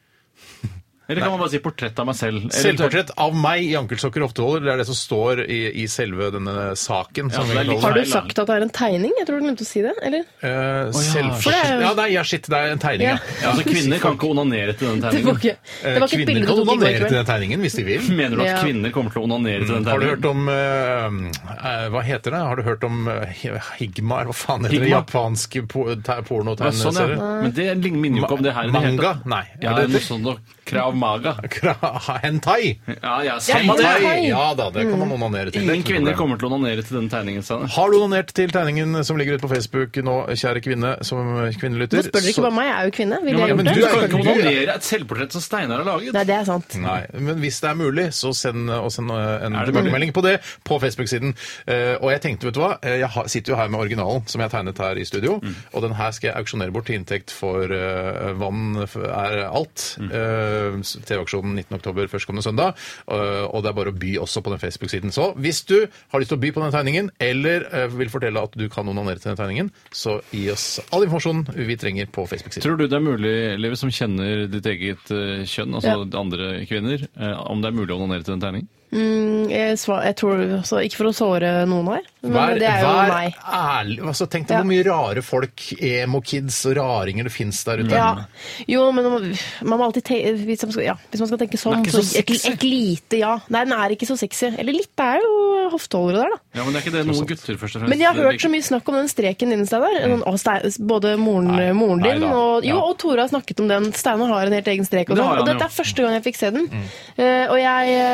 Eller kan man bare si portrett av meg selv?
Selvportrett av meg i ankelsokker og hofteholder. Det er det som står i, i selve denne saken. som vi kaller det.
Har du sagt at det er en tegning? Jeg tror du glemte å si det. Eller?
Eh,
For det er
selvforskjell
jo-
Ja, nei, ja, shit, det er en tegning, ja.
Ja. Ja, altså,
kvinner kan ikke onanere til den
Det var ikke, det var ikke et bilde
eh, Kvinner
du
kan
tok i går
onanere til den
kveld.
tegningen hvis de vil.
Mener du at
Ja.
kvinner kommer til å onanere til den
Mm. Har du
terningen?
hørt om eh, eh, Hva heter det? Har du hørt om eh, Higmar? Hva faen heter det?
Higmar?
Japansk po te-
Ja, sånn,
pornotegneserie?
ja. Men det ligner- minner jo ikke om det her. i det hele
Manga?
tatt.
Nei.
Ja,
Er det
noe
det?
sånt noe. Krav maga.
[LAUGHS] Hentai!
Ja, ja,
Ja,
samme
hentai.
det.
Ja da, det kan man
Mm.
onanere til. Det er
Ingen
ikke noe
kvinner kommer
problem.
til å onanere til den tegningen. Sanne.
Har du donert til tegningen som ligger ute på Facebook nå, kjære kvinne som kvinnelytter?
Nå spør dere ikke bare meg, jeg er jo kvinne.
Ja,
Ville jeg
men
gjort
du er
det?
jo ikke onanere
et selvportrett som Steinar har laget.
Nei, det er sant.
Nei, men hvis det er mulig, så send oss en, en
Er det mulig?
tilbakemelding på det på Facebook-siden. Eh, og jeg tenkte, vet du hva, Eh, jeg har- sitter jo her med originalen som jeg har tegnet her i studio,
Mm.
og den her skal jeg auksjonere bort til inntekt for eh, Vann f- er alt.
Mm.
Eh, s- TV-aksjonen 19. oktober førstkommende søndag, Eh, og det er bare å by også på den Facebook-siden. Så hvis du har lyst til å by på den tegningen, eller eh, vil fortelle at du kan onanere til den tegningen, så gi oss all informasjonen vi trenger på Facebook-siden.
Tror du det er mulig, Liv, som kjenner ditt eget eh, kjønn, altså andre kvinner, eh, om det er mulig å onanere til den tegningen?
Mm, jeg, svar, jeg tror, så Ikke for å såre noen her, men
Vær,
det er jo
vær
meg.
ærlig. Altså, tenk deg
Ja.
hvor mye rare folk, emo-kids og raringer det fins der ute.
Ja. Jo, men man, man må alltid te hvis, man skal, ja, hvis man skal tenke sånn,
Den er
så,
ikke så
et,
sexy.
et lite ja. Nei, den er ikke så sexy. Eller litt, det er jo hofteholdere der, da.
Ja, men det er ikke det noen gutter, først og fremst.
Men jeg har hørt så mye snakk om den streken din, Steinar.
Mm.
Sånn, å, Stein- Både moren, moren din
nei da.
og, jo,
Ja.
og Tore har snakket om den. Steinar har en helt egen strek. Og,
Det har
sånn.
han Mm.
og dette
jo.
er første gang jeg fikk se den. Eh, og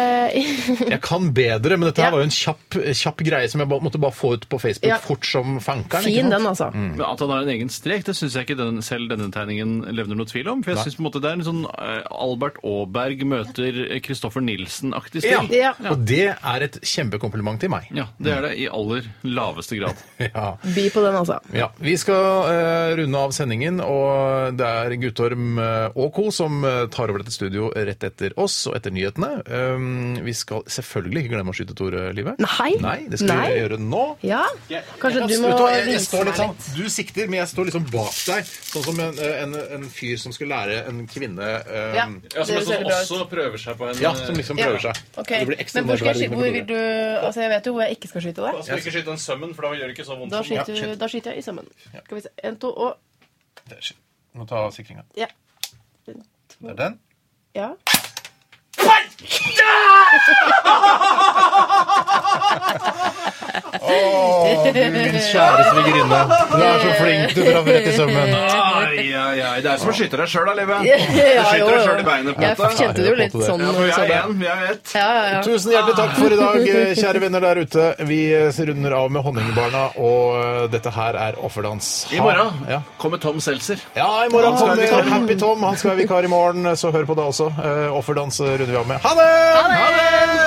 jeg eh,
Jeg kan bedre, men dette her var jo en kjapp, kjapp greie som jeg bare, måtte bare få ut på Facebook
Ja.
fort som fankeren. ikke
[LAUGHS]
Mm.
Fin
sant?
den, altså.
Men At han har en egen strek, det syns jeg ikke den, selv denne tegningen levner noe tvil om. For jeg
Nei.
synes på en måte det er en sånn eh, Albert Aaberg møter eh, Christoffer Nielsen-aktig
Ja.
stil.
Og det er et kjempekompliment til meg.
Ja, det er det i aller laveste grad.
ja.
By på den, altså.
Ja, Vi skal eh, runde av sendingen, og det er Guttorm eh, og co. som eh, tar over dette studio rett etter oss og etter nyhetene. Um, vi skal selvfølgelig ikke glemme å skyte Tore Livet.
Nei.
det skal vi
Nei.
gjøre nå.
Ja. Kanskje
Jeg-
du
jeg-
må
vet hva, jeg, jeg
vise
står litt
meg
sånn, Du sikter, men jeg står liksom bak deg. Sånn som en, en, en fyr som skal lære en kvinne eh,
Ja, Ja, som- det som ser bra ut.
liksom prøver seg på en
Ja, som liksom prøver
Ja.
seg.
Ok,
Det blir ekstra
Men hvor skal
nedverdig
jeg skyte?
for
Hvor
Tore.
vil du Altså, jeg vet jo hvor jeg ikke skal skyte
Da skal vi
deg.
eh, ikke skyte den sømmen, for da gjør det ikke så vondt.
Da
som-
skyter, du- da skyter jeg i sømmen. Skal vi se. En, to og
Det er skitt. Du må ta sikringa.
Ja.
Det er den.
ja.
Å, du, min kjære svigerinne. Du er så flink. Du traff rett i sømmen.
Ai, ai, ai. Det er som å skyte deg sjøl, da, Live. Du
[LAUGHS] [LAUGHS] Ja,
skyter
jo,
deg
jo.
sjøl i beinet. på en
Jeg
måte.
kjente det jo litt sånn.
Ja, for vi
så
er
det.
én, vi er ett.
Ja, ja, ja.
Tusen hjertelig takk for i dag, kjære venner der ute. Vi runder av med Honningbarna, og eh, dette her er offerdans.
I morgen
Ja.
kommer Tom Seltzer.
Ja, i
Han
morgen
skal
kommer
være vikar.
Happy Tom. Han skal være vikar i morgen, så hør på det også. Eh, Offerdans runder vi av med. Ha det!
Ha det!